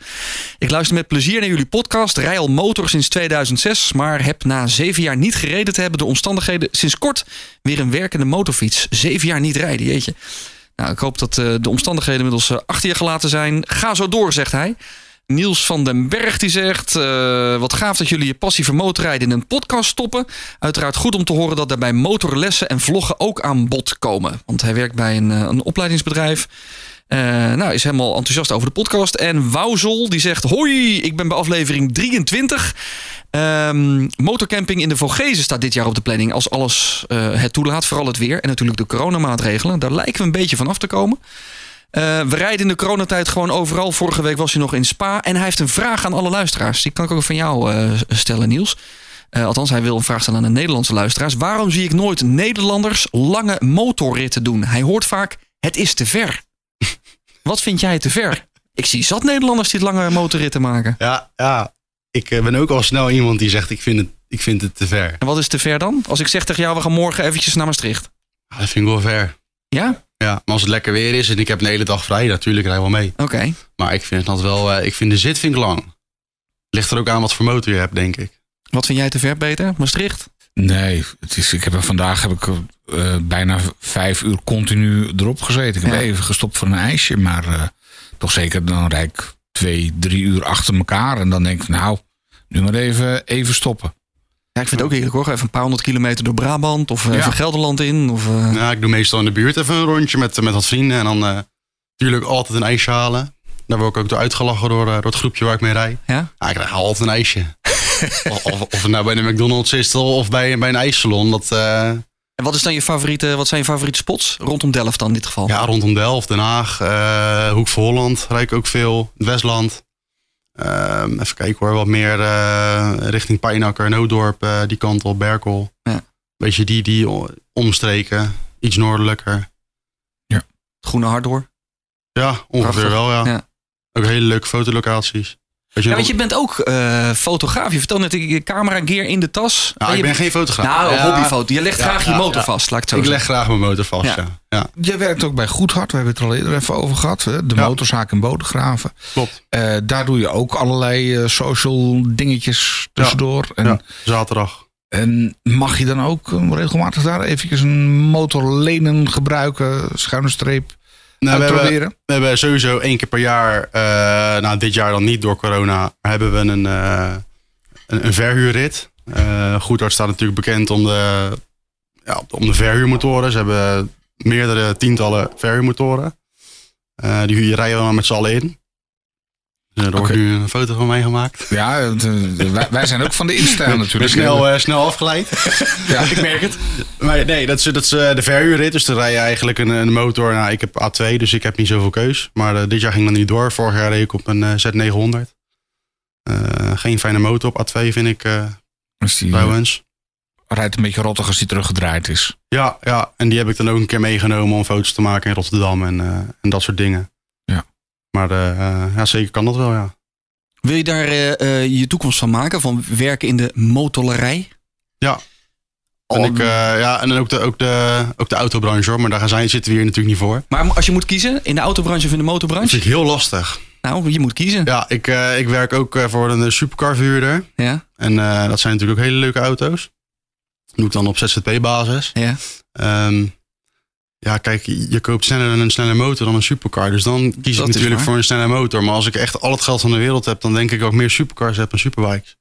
[SPEAKER 3] Ik luister met plezier naar jullie podcast. Rij al motor sinds 2006, maar heb na zeven jaar niet gereden te hebben... de omstandigheden sinds kort weer een werkende motorfiets. Zeven jaar niet rijden, jeetje. Nou, ik hoop dat eh, de omstandigheden inmiddels eh, achter je gelaten zijn. Ga zo door, zegt hij. Niels van den Berg die zegt... eh, wat gaaf dat jullie je passie voor motorrijden in een podcast stoppen. Uiteraard goed om te horen dat daarbij motorlessen en vloggen ook aan bod komen. Want hij werkt bij een, eh, een opleidingsbedrijf. Eh, nou, is helemaal enthousiast over de podcast. En Wouzel die zegt... Hoi, ik ben bij aflevering 23. Ehm, motorcamping in de Vogezen staat dit jaar op de planning. Als alles eh, het toelaat, vooral het weer. En natuurlijk de coronamaatregelen. Daar lijken we een beetje van af te komen. Eh, we rijden in de coronatijd gewoon overal. Vorige week was hij nog in Spa. En hij heeft een vraag aan alle luisteraars. Die kan ik ook van jou eh, stellen, Niels. Eh, althans, hij wil een vraag stellen aan de Nederlandse luisteraars. Waarom zie ik nooit Nederlanders lange motorritten doen? Hij hoort vaak, het is te ver. Wat vind jij te ver? Ik zie zat Nederlanders die lange motorritten maken.
[SPEAKER 4] Ja, ja. Ik eh, ben ook al snel iemand die zegt, ik vind het, ik vind het te ver.
[SPEAKER 3] En wat is te ver dan? Als ik zeg tegen jou, we gaan morgen eventjes naar Maastricht.
[SPEAKER 4] Ah, dat vind ik wel ver.
[SPEAKER 3] Ja?
[SPEAKER 4] Ja, maar als het lekker weer is en ik heb een hele dag vrij, natuurlijk rij ik wel mee.
[SPEAKER 3] Oké.
[SPEAKER 4] Maar ik vind het altijd wel, eh, ik vind de zit vind ik lang. Ligt er ook aan wat voor motor je hebt, denk ik.
[SPEAKER 3] Wat vind jij te ver, Peter? Maastricht?
[SPEAKER 2] Nee, het is, ik heb er vandaag heb ik er, eh, bijna vijf uur continu erop gezeten. Ik heb
[SPEAKER 3] Ja.
[SPEAKER 2] even gestopt voor een ijsje, maar eh, toch zeker dan rijd ik twee, drie uur achter elkaar. En dan denk ik, nou, nu maar even, even stoppen.
[SPEAKER 3] Ja, ik vind het ook heerlijk hoor. Even een paar honderd kilometer door Brabant of eh,
[SPEAKER 2] Ja.
[SPEAKER 3] even Gelderland in. Of, eh,
[SPEAKER 4] Nou, ik doe meestal in de buurt even een rondje met, met wat vrienden. En dan eh natuurlijk altijd een ijsje halen. Daar word ik ook door uitgelachen door, eh, door het groepje waar ik mee rij.
[SPEAKER 3] ja?
[SPEAKER 4] Ja, ik krijg altijd een ijsje. of, of, of het nou bij de McDonald's is of bij, bij een ijssalon. Dat, eh,
[SPEAKER 3] En wat, is dan je favoriete, wat zijn je favoriete spots? Rondom Delft dan in dit geval.
[SPEAKER 4] Ja, rondom Delft, Den Haag, eh, Hoek van Holland rijd ik ook veel. Het Westland. Ehm, even kijken hoor, wat meer eh, richting Pijnakker, Noodorp, eh, die kant op, Berkel.
[SPEAKER 3] Ja.
[SPEAKER 4] Weet je, die, die o- omstreken, iets noordelijker.
[SPEAKER 3] Het Groene Harddoor.
[SPEAKER 4] Ja, ongeveer
[SPEAKER 3] Prachtig,
[SPEAKER 4] wel, ja.
[SPEAKER 3] ja.
[SPEAKER 4] Ook hele leuke fotolocaties. Weet je,
[SPEAKER 3] Ja,
[SPEAKER 4] nog-
[SPEAKER 3] want je bent ook eh, fotograaf. Je vertelt net, je camera gear in de tas.
[SPEAKER 4] Nou,
[SPEAKER 3] En
[SPEAKER 4] ik
[SPEAKER 3] je
[SPEAKER 4] ben geen fotograaf.
[SPEAKER 3] Nou,
[SPEAKER 4] Ja,
[SPEAKER 3] hobbyfoto. Je legt
[SPEAKER 4] Ja,
[SPEAKER 3] graag je
[SPEAKER 4] ja,
[SPEAKER 3] motor
[SPEAKER 4] ja.
[SPEAKER 3] vast, laat ik het zo
[SPEAKER 4] Ik leg
[SPEAKER 3] zeggen.
[SPEAKER 4] graag mijn motor vast,
[SPEAKER 3] Ja.
[SPEAKER 4] ja. ja.
[SPEAKER 2] Jij werkt ook bij Goedhart, we hebben het er al eerder even over gehad. Hè? De
[SPEAKER 4] Ja.
[SPEAKER 2] motorzaak in Bodegraven.
[SPEAKER 4] klopt.
[SPEAKER 2] Eh, daar doe je ook allerlei eh, social dingetjes tussendoor. En,
[SPEAKER 4] Ja. Zaterdag.
[SPEAKER 2] en mag je dan ook eh, regelmatig daar eventjes een motor lenen gebruiken, schuine streep,
[SPEAKER 4] Nou, we hebben-
[SPEAKER 2] uitproberen?
[SPEAKER 4] We hebben sowieso één keer per jaar, eh, nou dit jaar dan niet door corona, maar hebben we een, eh, een, een verhuurrit. Eh Goedhart staat natuurlijk bekend om de, ja, om de verhuurmotoren. Ze hebben meerdere tientallen verhuurmotoren. Eh, die huur- rijden we dan met z'n allen in. Dus er wordt
[SPEAKER 2] Oké.
[SPEAKER 4] nu een foto van mij gemaakt.
[SPEAKER 2] Ja, het, eh, wij, wij zijn ook van de Insta
[SPEAKER 4] Ik ben
[SPEAKER 2] natuurlijk.
[SPEAKER 4] snel, eh, snel afgeleid.
[SPEAKER 2] Ja.
[SPEAKER 4] ik merk het. Maar nee, dat is, dat is eh, de verhuurrit. Dus dan rij je eigenlijk een, een motor. Nou, ik heb A2, dus ik heb niet zoveel keus. Maar eh, dit jaar ging dat niet door. Vorig jaar reed ik op een eh, Z900. Eh, geen fijne motor op A2 vind ik eh,
[SPEAKER 2] Dus die eh,
[SPEAKER 4] trouwens.
[SPEAKER 2] rijdt een beetje rottig als die teruggedraaid is.
[SPEAKER 4] Ja, ja, en die heb ik dan ook een keer meegenomen om foto's te maken in Rotterdam en, eh, en dat soort dingen.
[SPEAKER 2] Ja.
[SPEAKER 4] Maar eh, eh, ja, zeker kan dat wel, ja.
[SPEAKER 3] Wil je daar eh, eh, je toekomst van maken? Van werken in de motorlerij?
[SPEAKER 4] Ja. En,
[SPEAKER 3] Al-
[SPEAKER 4] ik, eh, ja, en dan ook de, ook, de, ook de autobranche hoor, maar daar gaan zij, zitten we hier natuurlijk niet voor.
[SPEAKER 3] maar als je moet kiezen, in de autobranche of in de
[SPEAKER 4] Dat
[SPEAKER 3] motorbranche?
[SPEAKER 4] vind ik heel lastig.
[SPEAKER 3] Nou, je moet kiezen.
[SPEAKER 4] Ja, ik, eh, ik werk ook eh, voor een eh, supercarverhuurder.
[SPEAKER 3] Ja.
[SPEAKER 4] En eh, dat zijn natuurlijk ook hele leuke auto's. Doe ik dan op ZZP-basis.
[SPEAKER 3] ja.
[SPEAKER 4] Ehm, ja, kijk, je koopt sneller een snelle motor dan een supercar. Dus dan kies
[SPEAKER 3] Dat
[SPEAKER 4] ik
[SPEAKER 3] is
[SPEAKER 4] natuurlijk
[SPEAKER 3] waar.
[SPEAKER 4] voor een snelle motor. Maar als ik echt al het geld van de wereld heb, dan denk ik ook meer supercars heb dan superbikes.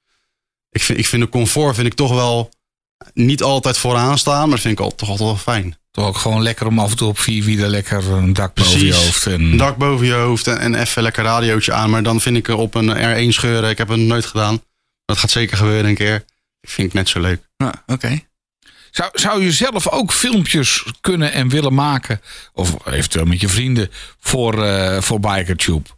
[SPEAKER 4] Ik vind, ik vind de comfort vind ik toch wel niet altijd vooraan staan, maar dat vind ik al, toch altijd wel fijn.
[SPEAKER 2] Toch ook gewoon lekker om af en toe op vier wielen lekker een dak boven je
[SPEAKER 4] Precies.
[SPEAKER 2] hoofd. En,
[SPEAKER 3] Hmm.
[SPEAKER 4] Een dak boven je hoofd en, en even lekker radiootje aan. Maar dan vind ik er op een R1 scheuren. Ik heb het nog nooit gedaan. Dat gaat zeker gebeuren een keer. Ik vind het net zo leuk.
[SPEAKER 3] Nou, oké.
[SPEAKER 2] Zou, zou je zelf ook filmpjes kunnen en willen maken? Of eventueel met je vrienden voor, eh voor Bikertube?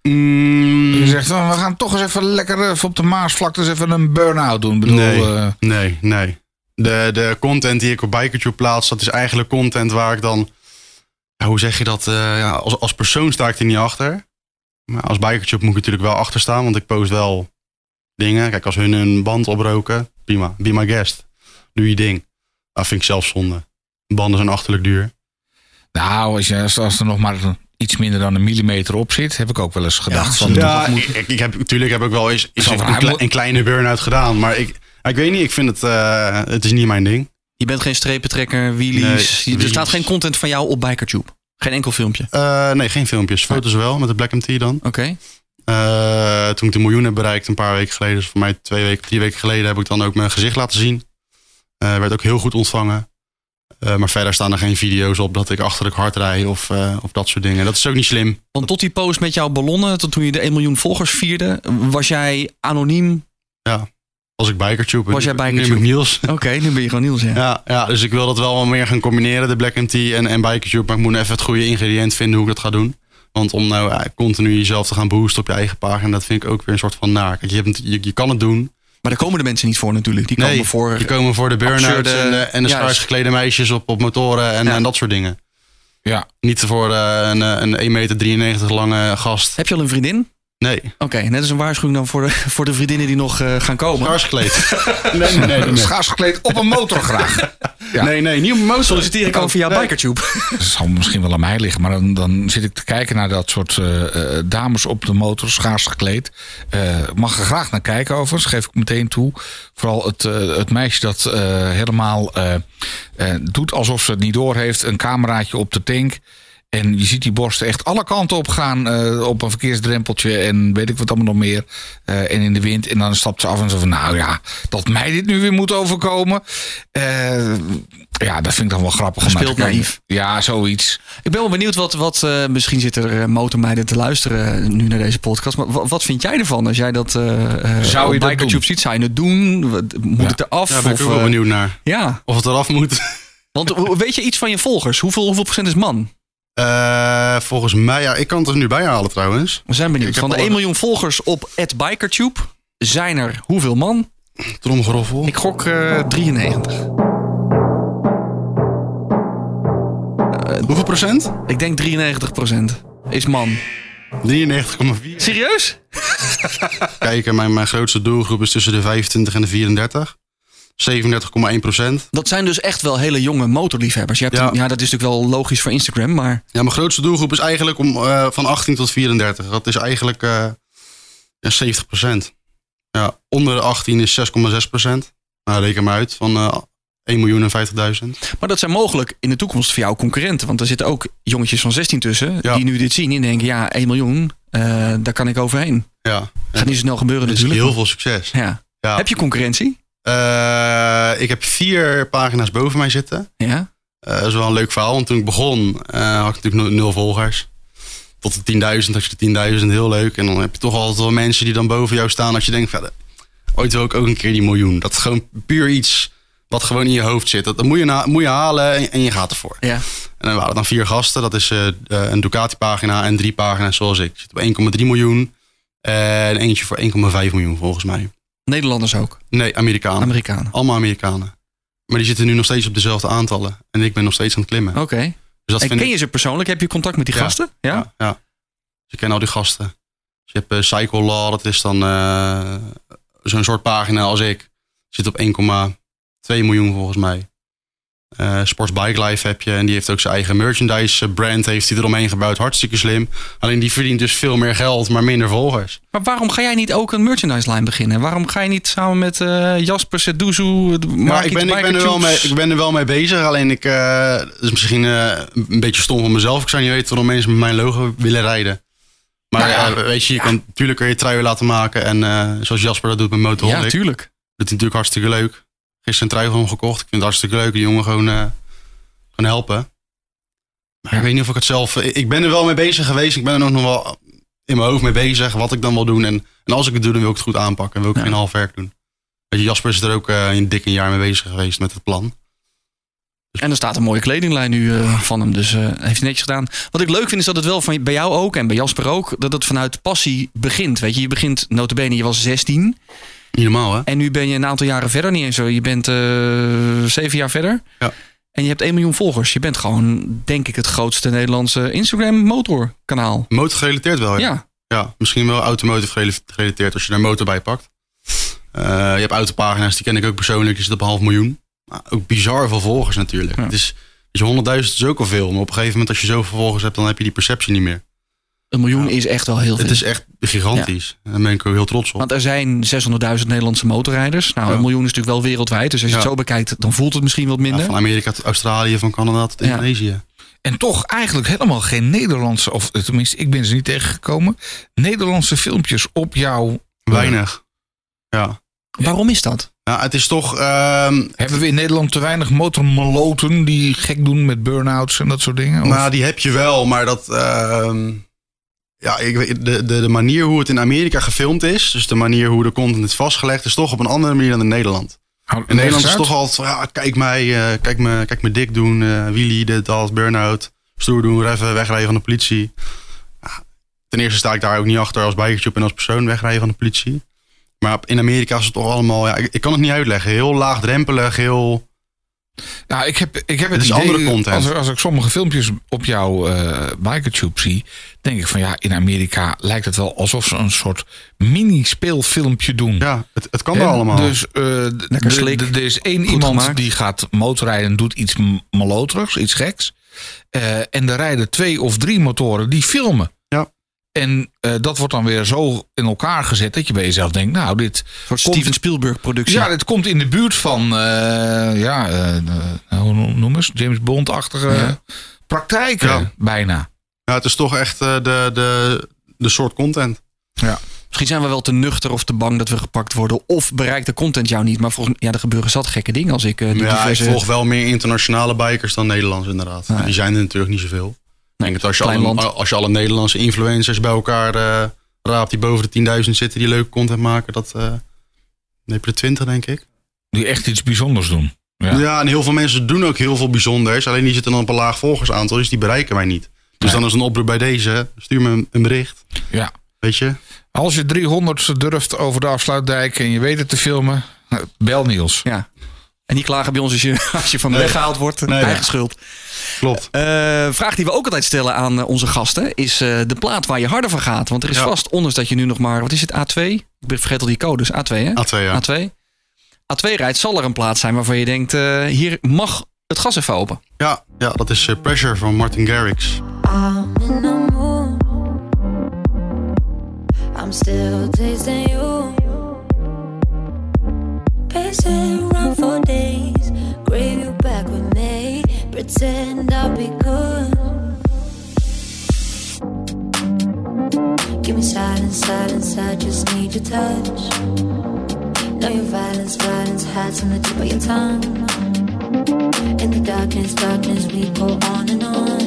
[SPEAKER 3] Hmm.
[SPEAKER 4] Mm.
[SPEAKER 2] Je zegt, oh, we gaan toch eens even lekker even op de Maasvlakte eens even een burn-out doen. Ik Bedoel,
[SPEAKER 4] Nee.
[SPEAKER 2] eh,
[SPEAKER 4] Nee, nee. De, de content die ik op Bikertube plaats, dat is eigenlijk content waar ik dan ja, hoe zeg je dat? eh, ja, als, als persoon sta ik er niet achter. Maar als bikertje moet ik natuurlijk wel achter staan, want ik post wel dingen. Kijk, als hun een band oproken, prima. Be my guest. Doe je ding. Dat vind ik zelf zonde. Banden zijn achterlijk duur.
[SPEAKER 2] Nou, als, je, als, als er nog maar iets minder dan een millimeter op zit, heb ik ook wel eens gedacht. van,
[SPEAKER 4] Ja, ik, ik heb, natuurlijk heb ik wel eens, eens
[SPEAKER 2] Zo
[SPEAKER 4] een,
[SPEAKER 2] van,
[SPEAKER 4] een
[SPEAKER 2] hij
[SPEAKER 4] kle-
[SPEAKER 2] moet-
[SPEAKER 4] een kleine burn-out gedaan. Maar ik, ik weet niet, ik vind het, eh, het is niet mijn ding.
[SPEAKER 3] Je bent geen strepentrekker,
[SPEAKER 4] Nee,
[SPEAKER 3] wheelies. Je- er
[SPEAKER 4] wheelies.
[SPEAKER 3] staat geen content van jou op Bikertube. Geen enkel filmpje. Oké.
[SPEAKER 4] Eh, nee, geen filmpjes. Foto's wel, met de Black MT dan. Eh, toen ik de miljoen heb bereikt, een paar weken geleden, dus voor mij twee weken, drie weken geleden, heb ik dan ook mijn gezicht laten zien. Eh, werd ook heel goed ontvangen. Eh, maar verder staan er geen video's op dat ik achterlijk hard rijd of, eh, of dat soort dingen. Dat is ook niet slim.
[SPEAKER 3] Want tot die post met jouw ballonnen, tot toen je de 1 miljoen volgers vierde, was jij anoniem.
[SPEAKER 4] Als ik bikertube.
[SPEAKER 3] Was jij bikertube?
[SPEAKER 4] Neem ik Niels.
[SPEAKER 3] Oké, nu ben je gewoon Niels, ja.
[SPEAKER 4] Ja, ja, dus ik wil dat wel wat meer gaan combineren, de Black MT en, en Bikertube. Maar ik moet nou even het goede ingrediënt vinden hoe ik dat ga doen. Want om nou eh, continu jezelf te gaan boosten op je eigen pagina, dat vind ik ook weer een soort van naar. Kijk, je, hebt, het- je, je kan het doen.
[SPEAKER 3] Maar daar komen de mensen niet voor natuurlijk. Die
[SPEAKER 4] Nee,
[SPEAKER 3] komen voor...
[SPEAKER 4] je komen voor de burn-outs
[SPEAKER 3] absurde-
[SPEAKER 4] en de, en de
[SPEAKER 3] juist.
[SPEAKER 4] schuis geklede meisjes op, op motoren en,
[SPEAKER 3] Ja.
[SPEAKER 4] en dat soort dingen.
[SPEAKER 2] ja.
[SPEAKER 4] Niet voor eh, een, eh, een 1,93 meter lange gast.
[SPEAKER 3] Heb je al een vriendin?
[SPEAKER 4] Nee,
[SPEAKER 3] Oké, net als een waarschuwing dan voor de, voor de vriendinnen die nog eh, gaan komen.
[SPEAKER 4] schaars gekleed. nee, nee, nee, nee, nee.
[SPEAKER 2] schaars gekleed op een motor graag. Ja.
[SPEAKER 4] Nee, nee, niet op mijn motor.
[SPEAKER 3] Solliciteer ik ook via
[SPEAKER 4] Nee.
[SPEAKER 3] Bikertube.
[SPEAKER 2] Dat zal misschien wel aan mij liggen, maar dan, dan zit ik te kijken naar dat soort eh, eh, dames op de motor, schaars gekleed. Eh, mag er graag naar kijken overigens, geef ik meteen toe. Vooral het, eh, het meisje dat eh, helemaal eh, eh, doet alsof ze het niet door heeft. Een cameraatje op de tank. En je ziet die borsten echt alle kanten op gaan. eh, op een verkeersdrempeltje en weet ik wat allemaal nog meer. Eh, en in de wind. En dan stapt ze af en zo van... Nou ja, dat mij dit nu weer moet overkomen. Eh, ja, dat vind ik dan wel grappig. om naar te
[SPEAKER 3] Gespeeld
[SPEAKER 2] kijken.
[SPEAKER 3] naïef.
[SPEAKER 2] Ja, zoiets.
[SPEAKER 3] Ik ben wel benieuwd wat, wat eh, misschien zitten er eh, motormeiden te luisteren eh, nu naar deze podcast. Maar wa- wat vind jij ervan als jij dat eh eh,
[SPEAKER 2] Zou je
[SPEAKER 3] op
[SPEAKER 2] dat
[SPEAKER 3] Bikertube
[SPEAKER 2] doen?
[SPEAKER 3] ziet? Zou je het doen? Wat- Moet
[SPEAKER 2] Ja.
[SPEAKER 3] het eraf?
[SPEAKER 4] Daar ben ik
[SPEAKER 3] Of,
[SPEAKER 4] ook wel
[SPEAKER 3] eh,
[SPEAKER 4] benieuwd naar.
[SPEAKER 3] Ja,
[SPEAKER 4] Of het eraf moet.
[SPEAKER 3] want hoe- weet je iets van je volgers? Hoeveel, hoeveel procent is man?
[SPEAKER 4] Eh, volgens mij, ja, ik kan het er nu bij halen trouwens.
[SPEAKER 3] We zijn
[SPEAKER 4] Ik
[SPEAKER 3] benieuwd.
[SPEAKER 4] heb
[SPEAKER 3] Van de
[SPEAKER 4] alle-
[SPEAKER 3] 1 miljoen volgers op Bikertube zijn er hoeveel man?
[SPEAKER 4] Tromgeroffel.
[SPEAKER 3] Ik gok eh, 93.
[SPEAKER 4] Hoeveel procent?
[SPEAKER 3] Ik denk 93 procent is man.
[SPEAKER 4] 93,4.
[SPEAKER 3] Serieus?
[SPEAKER 4] Kijken, mijn, mijn grootste doelgroep is tussen de 25 en de 34. 37,1 procent.
[SPEAKER 3] Dat zijn dus echt wel hele jonge motorliefhebbers. Je hebt
[SPEAKER 4] Ja.
[SPEAKER 3] een- ja, dat is natuurlijk wel logisch voor Instagram, maar...
[SPEAKER 4] Ja, mijn grootste doelgroep is eigenlijk om, eh, van 18 tot 34. Dat is eigenlijk eh, ja, 70 procent. Ja, onder de 18 is 6,6 procent. Nou, reken maar uit. Van eh 1 miljoen en 50.000.
[SPEAKER 3] Maar dat zijn mogelijk in de toekomst voor jou concurrenten. Want er zitten ook jongetjes van 16 tussen.
[SPEAKER 4] Ja.
[SPEAKER 3] die nu dit zien en denken: ja, 1 miljoen, eh, daar kan ik overheen.
[SPEAKER 4] Ja,
[SPEAKER 3] Gaat niet zo snel gebeuren,
[SPEAKER 4] dat is
[SPEAKER 3] natuurlijk.
[SPEAKER 4] heel veel succes.
[SPEAKER 3] Ja.
[SPEAKER 4] Ja.
[SPEAKER 3] Heb je concurrentie?
[SPEAKER 4] Eh, ik heb vier pagina's boven mij zitten.
[SPEAKER 3] Ja.
[SPEAKER 4] Eh, dat is wel een leuk verhaal, want toen ik begon eh, had ik natuurlijk nul volgers. Tot de 10.000 had je de 10.000, heel leuk. En dan heb je toch altijd wel mensen die dan boven jou staan. Dat je denkt, van, ooit wil ik ook een keer die miljoen. Dat is gewoon puur iets wat gewoon in je hoofd zit. Dat, dat moet, je na- moet je halen en, en je gaat ervoor.
[SPEAKER 3] ja.
[SPEAKER 4] En dan waren het dan vier gasten. Dat is eh, eh, een Ducati-pagina en drie pagina's zoals ik. Ik zit op 1,3 miljoen. En eentje voor 1,5 miljoen volgens mij.
[SPEAKER 3] Nederlanders ook,
[SPEAKER 4] Nee, Amerikanen.
[SPEAKER 3] Amerikanen.
[SPEAKER 4] Allemaal Amerikanen. Maar die zitten nu nog steeds op dezelfde aantallen. En ik ben nog steeds aan het klimmen.
[SPEAKER 3] Oké.
[SPEAKER 4] Dus dat
[SPEAKER 3] En
[SPEAKER 4] vind ik
[SPEAKER 3] ken je ze persoonlijk? Heb je contact met die
[SPEAKER 4] Ja.
[SPEAKER 3] gasten? Ja.
[SPEAKER 4] Ja. ja. Dus ik ken al die gasten. Dus je hebt eh, Cycle Law, dat is dan eh, zo'n soort pagina als ik. Zit op 1,2 miljoen volgens mij. Eh, Sports Bike Life heb je. En die heeft ook zijn eigen merchandise eh, brand. Heeft hij eromheen gebouwd. Hartstikke slim. Alleen die verdient dus veel meer geld, maar minder volgers.
[SPEAKER 3] Maar waarom ga jij niet ook een merchandise line beginnen? Waarom ga je niet samen met eh, Jasper, Seduzu,
[SPEAKER 4] Maar ik ben, ik, ben er wel mee, ik ben er wel mee bezig. Alleen ik... eh, dat is misschien eh, een beetje stom van mezelf. Ik zou niet weten waarom mensen met mijn logo willen rijden. Maar
[SPEAKER 2] Nou ja.
[SPEAKER 4] eh, weet je, je kan natuurlijk kun je truien laten maken. En eh, zoals Jasper dat doet met Motorholic.
[SPEAKER 3] Ja, tuurlijk.
[SPEAKER 4] Dat is natuurlijk hartstikke leuk. Gisteren een trui gewoon gekocht. Ik vind het hartstikke leuk. De jongen gewoon, eh gewoon helpen. Maar ik weet niet of ik het zelf... Ik ik ben er wel mee bezig geweest. Ik ben er ook nog wel in mijn hoofd mee bezig. Wat ik dan wil doen. En, en als ik het doe, dan wil ik het goed aanpakken. En wil ik
[SPEAKER 3] Ja.
[SPEAKER 4] geen half werk doen. Weet je, Jasper is er ook eh, een dik een jaar mee bezig geweest met het plan. Dus-
[SPEAKER 3] En er staat een mooie kledinglijn nu eh, van hem. Dus eh, heeft hij netjes gedaan. Wat ik leuk vind is dat het wel van, bij jou ook en bij Jasper ook... dat het vanuit passie begint. Weet je, je begint notabene, je was 16.
[SPEAKER 4] Niet normaal, hè?
[SPEAKER 3] En nu ben je een aantal jaren verder. Niet eens zo, je bent eh, zeven jaar verder.
[SPEAKER 4] Ja.
[SPEAKER 3] En je hebt 1 miljoen volgers. Je bent gewoon, denk ik, het grootste Nederlandse Instagram motorkanaal.
[SPEAKER 4] Motor gerelateerd wel, Oh ja. ja.
[SPEAKER 3] Ja,
[SPEAKER 4] misschien wel automotive gerela- gerelateerd als je daar motor bij pakt. Eh, je hebt autopagina's, die ken ik ook persoonlijk. Die zit op een half miljoen. Maar ook bizar veel volgers natuurlijk.
[SPEAKER 3] Ja.
[SPEAKER 4] Het is, dus 100.000 is ook al veel. Maar op een gegeven moment als je zoveel volgers hebt, dan heb je die perceptie niet meer.
[SPEAKER 3] een miljoen
[SPEAKER 4] Ja.
[SPEAKER 3] is echt wel heel veel.
[SPEAKER 4] Nou, Het is echt gigantisch. En Daar ben ik ook heel trots op.
[SPEAKER 3] Want er zijn 600.000 Nederlandse motorrijders. Nou,
[SPEAKER 4] Ja.
[SPEAKER 3] een miljoen is natuurlijk wel wereldwijd. Dus als je
[SPEAKER 4] Ja.
[SPEAKER 3] het zo bekijkt, dan voelt het misschien wat
[SPEAKER 4] Ja,
[SPEAKER 3] minder.
[SPEAKER 4] van Amerika tot Australië, van Canada tot
[SPEAKER 3] Ja.
[SPEAKER 4] Indonesië.
[SPEAKER 2] En toch eigenlijk helemaal geen Nederlandse, of tenminste, ik ben ze niet tegengekomen. Nederlandse filmpjes op jouw.
[SPEAKER 4] Weinig. Ja.
[SPEAKER 3] Waarom is dat?
[SPEAKER 4] ja, het is toch... ehm,
[SPEAKER 2] Hebben we in Nederland te weinig motormeloten die gek doen met burn-outs en dat soort dingen? Of-
[SPEAKER 4] Nou, die heb je wel, maar dat. ehm, ja, ik weet, de, de, de manier hoe het in Amerika gefilmd is, dus de manier hoe de content is vastgelegd, is toch op een andere manier dan in Nederland.
[SPEAKER 2] Hou-
[SPEAKER 4] In Nederland is
[SPEAKER 2] leg
[SPEAKER 4] het
[SPEAKER 2] eens
[SPEAKER 4] toch altijd, van, ja, kijk mij, eh, kijk me, kijk me dik doen, eh wheelie, dit, dat, burn-out, stoer doen, even wegrijden van de politie. Ja, ten eerste sta ik daar ook niet achter als bikertje op en als persoon wegrijden van de politie. Maar op- in Amerika is het toch allemaal, ja, ik, ik kan het niet uitleggen, heel laagdrempelig, heel...
[SPEAKER 2] uit. Nou, ik heb, ik heb het
[SPEAKER 4] Het is
[SPEAKER 2] idee,
[SPEAKER 4] andere content.
[SPEAKER 2] Als, als ik sommige filmpjes op jouw eh Bikertube zie, denk ik van ja, in Amerika lijkt het wel alsof ze een soort mini-speelfilmpje doen.
[SPEAKER 4] Ja, het, het kan er
[SPEAKER 2] Hè?
[SPEAKER 4] allemaal.
[SPEAKER 2] Dus eh, d-
[SPEAKER 3] Lekker
[SPEAKER 2] d-
[SPEAKER 3] slik.
[SPEAKER 2] d- er is één
[SPEAKER 3] Goed
[SPEAKER 2] iemand
[SPEAKER 3] gemaakt.
[SPEAKER 2] die gaat motorrijden en doet iets m- maloterigs, iets geks. Eh, en er rijden twee of drie motoren die filmen.
[SPEAKER 4] Ja.
[SPEAKER 2] En eh, dat wordt dan weer zo in elkaar gezet dat je bij jezelf denkt, nou dit,
[SPEAKER 3] Een soort
[SPEAKER 2] Komt-
[SPEAKER 3] Steven Spielberg productie.
[SPEAKER 2] ja, dit komt in de buurt van, eh, ja, eh, eh, hoe noem eens, James Bond-achtige
[SPEAKER 3] Ja.
[SPEAKER 2] praktijken
[SPEAKER 4] Ja.
[SPEAKER 2] bijna.
[SPEAKER 4] Ja, het is toch echt eh, de, de, de soort content.
[SPEAKER 3] Misschien zijn we wel te nuchter of te bang dat we gepakt worden. Of bereikt de content jou niet. Maar volgens ja, er gebeuren zat gekke dingen als ik eh, die
[SPEAKER 4] Ja, ik
[SPEAKER 3] diverse...
[SPEAKER 4] volg wel meer internationale bikers dan Nederlands inderdaad.
[SPEAKER 3] Ja.
[SPEAKER 4] Die zijn er natuurlijk niet zoveel. Ik denk dat als je,
[SPEAKER 3] klein
[SPEAKER 4] alle,
[SPEAKER 3] land.
[SPEAKER 4] als je alle Nederlandse influencers bij elkaar eh, raapt die boven de 10.000 zitten die leuke content maken, dat eh dan heb je de 20 denk ik.
[SPEAKER 2] Die echt iets bijzonders doen. Ja.
[SPEAKER 4] Ja. en heel veel mensen doen ook heel veel bijzonders. Alleen die zitten dan op een laag volgersaantal, dus die bereiken mij niet. Dus
[SPEAKER 2] Nee.
[SPEAKER 4] dan is een oproep bij deze, stuur me een, een bericht.
[SPEAKER 2] Ja.
[SPEAKER 4] Weet je?
[SPEAKER 2] Als je 300 durft over de afsluitdijk en je weet het te filmen, eh, bel Niels.
[SPEAKER 3] Ja. En niet klagen bij ons als je, als je van de
[SPEAKER 4] Nee.
[SPEAKER 3] weg gehaald wordt.
[SPEAKER 4] Nee,
[SPEAKER 3] Eigen
[SPEAKER 4] ja.
[SPEAKER 3] schuld.
[SPEAKER 4] Klopt.
[SPEAKER 3] Eh, vraag die we ook altijd stellen aan eh, onze gasten is eh, de plaat waar je harder van gaat. Want er is
[SPEAKER 4] Ja.
[SPEAKER 3] vast, ondanks dat je nu nog maar, wat is het, A2? Ik ben- vergeet al die codes, A2 hè?
[SPEAKER 4] A2 ja.
[SPEAKER 3] A2. A2 rijdt, zal er een plaat zijn waarvan je denkt, eh, hier mag het gas even open.
[SPEAKER 4] Ja, ja, dat is eh, Pressure van Martin Garrix.
[SPEAKER 5] I'm in the mood. I'm still tasting you. Pacing around for days. Crave you back with me. Pretend I'll be good. Give me silence, silence. I just need your touch. Know your violence, violence hides on the tip of your tongue. In the darkness, darkness, we go on and on.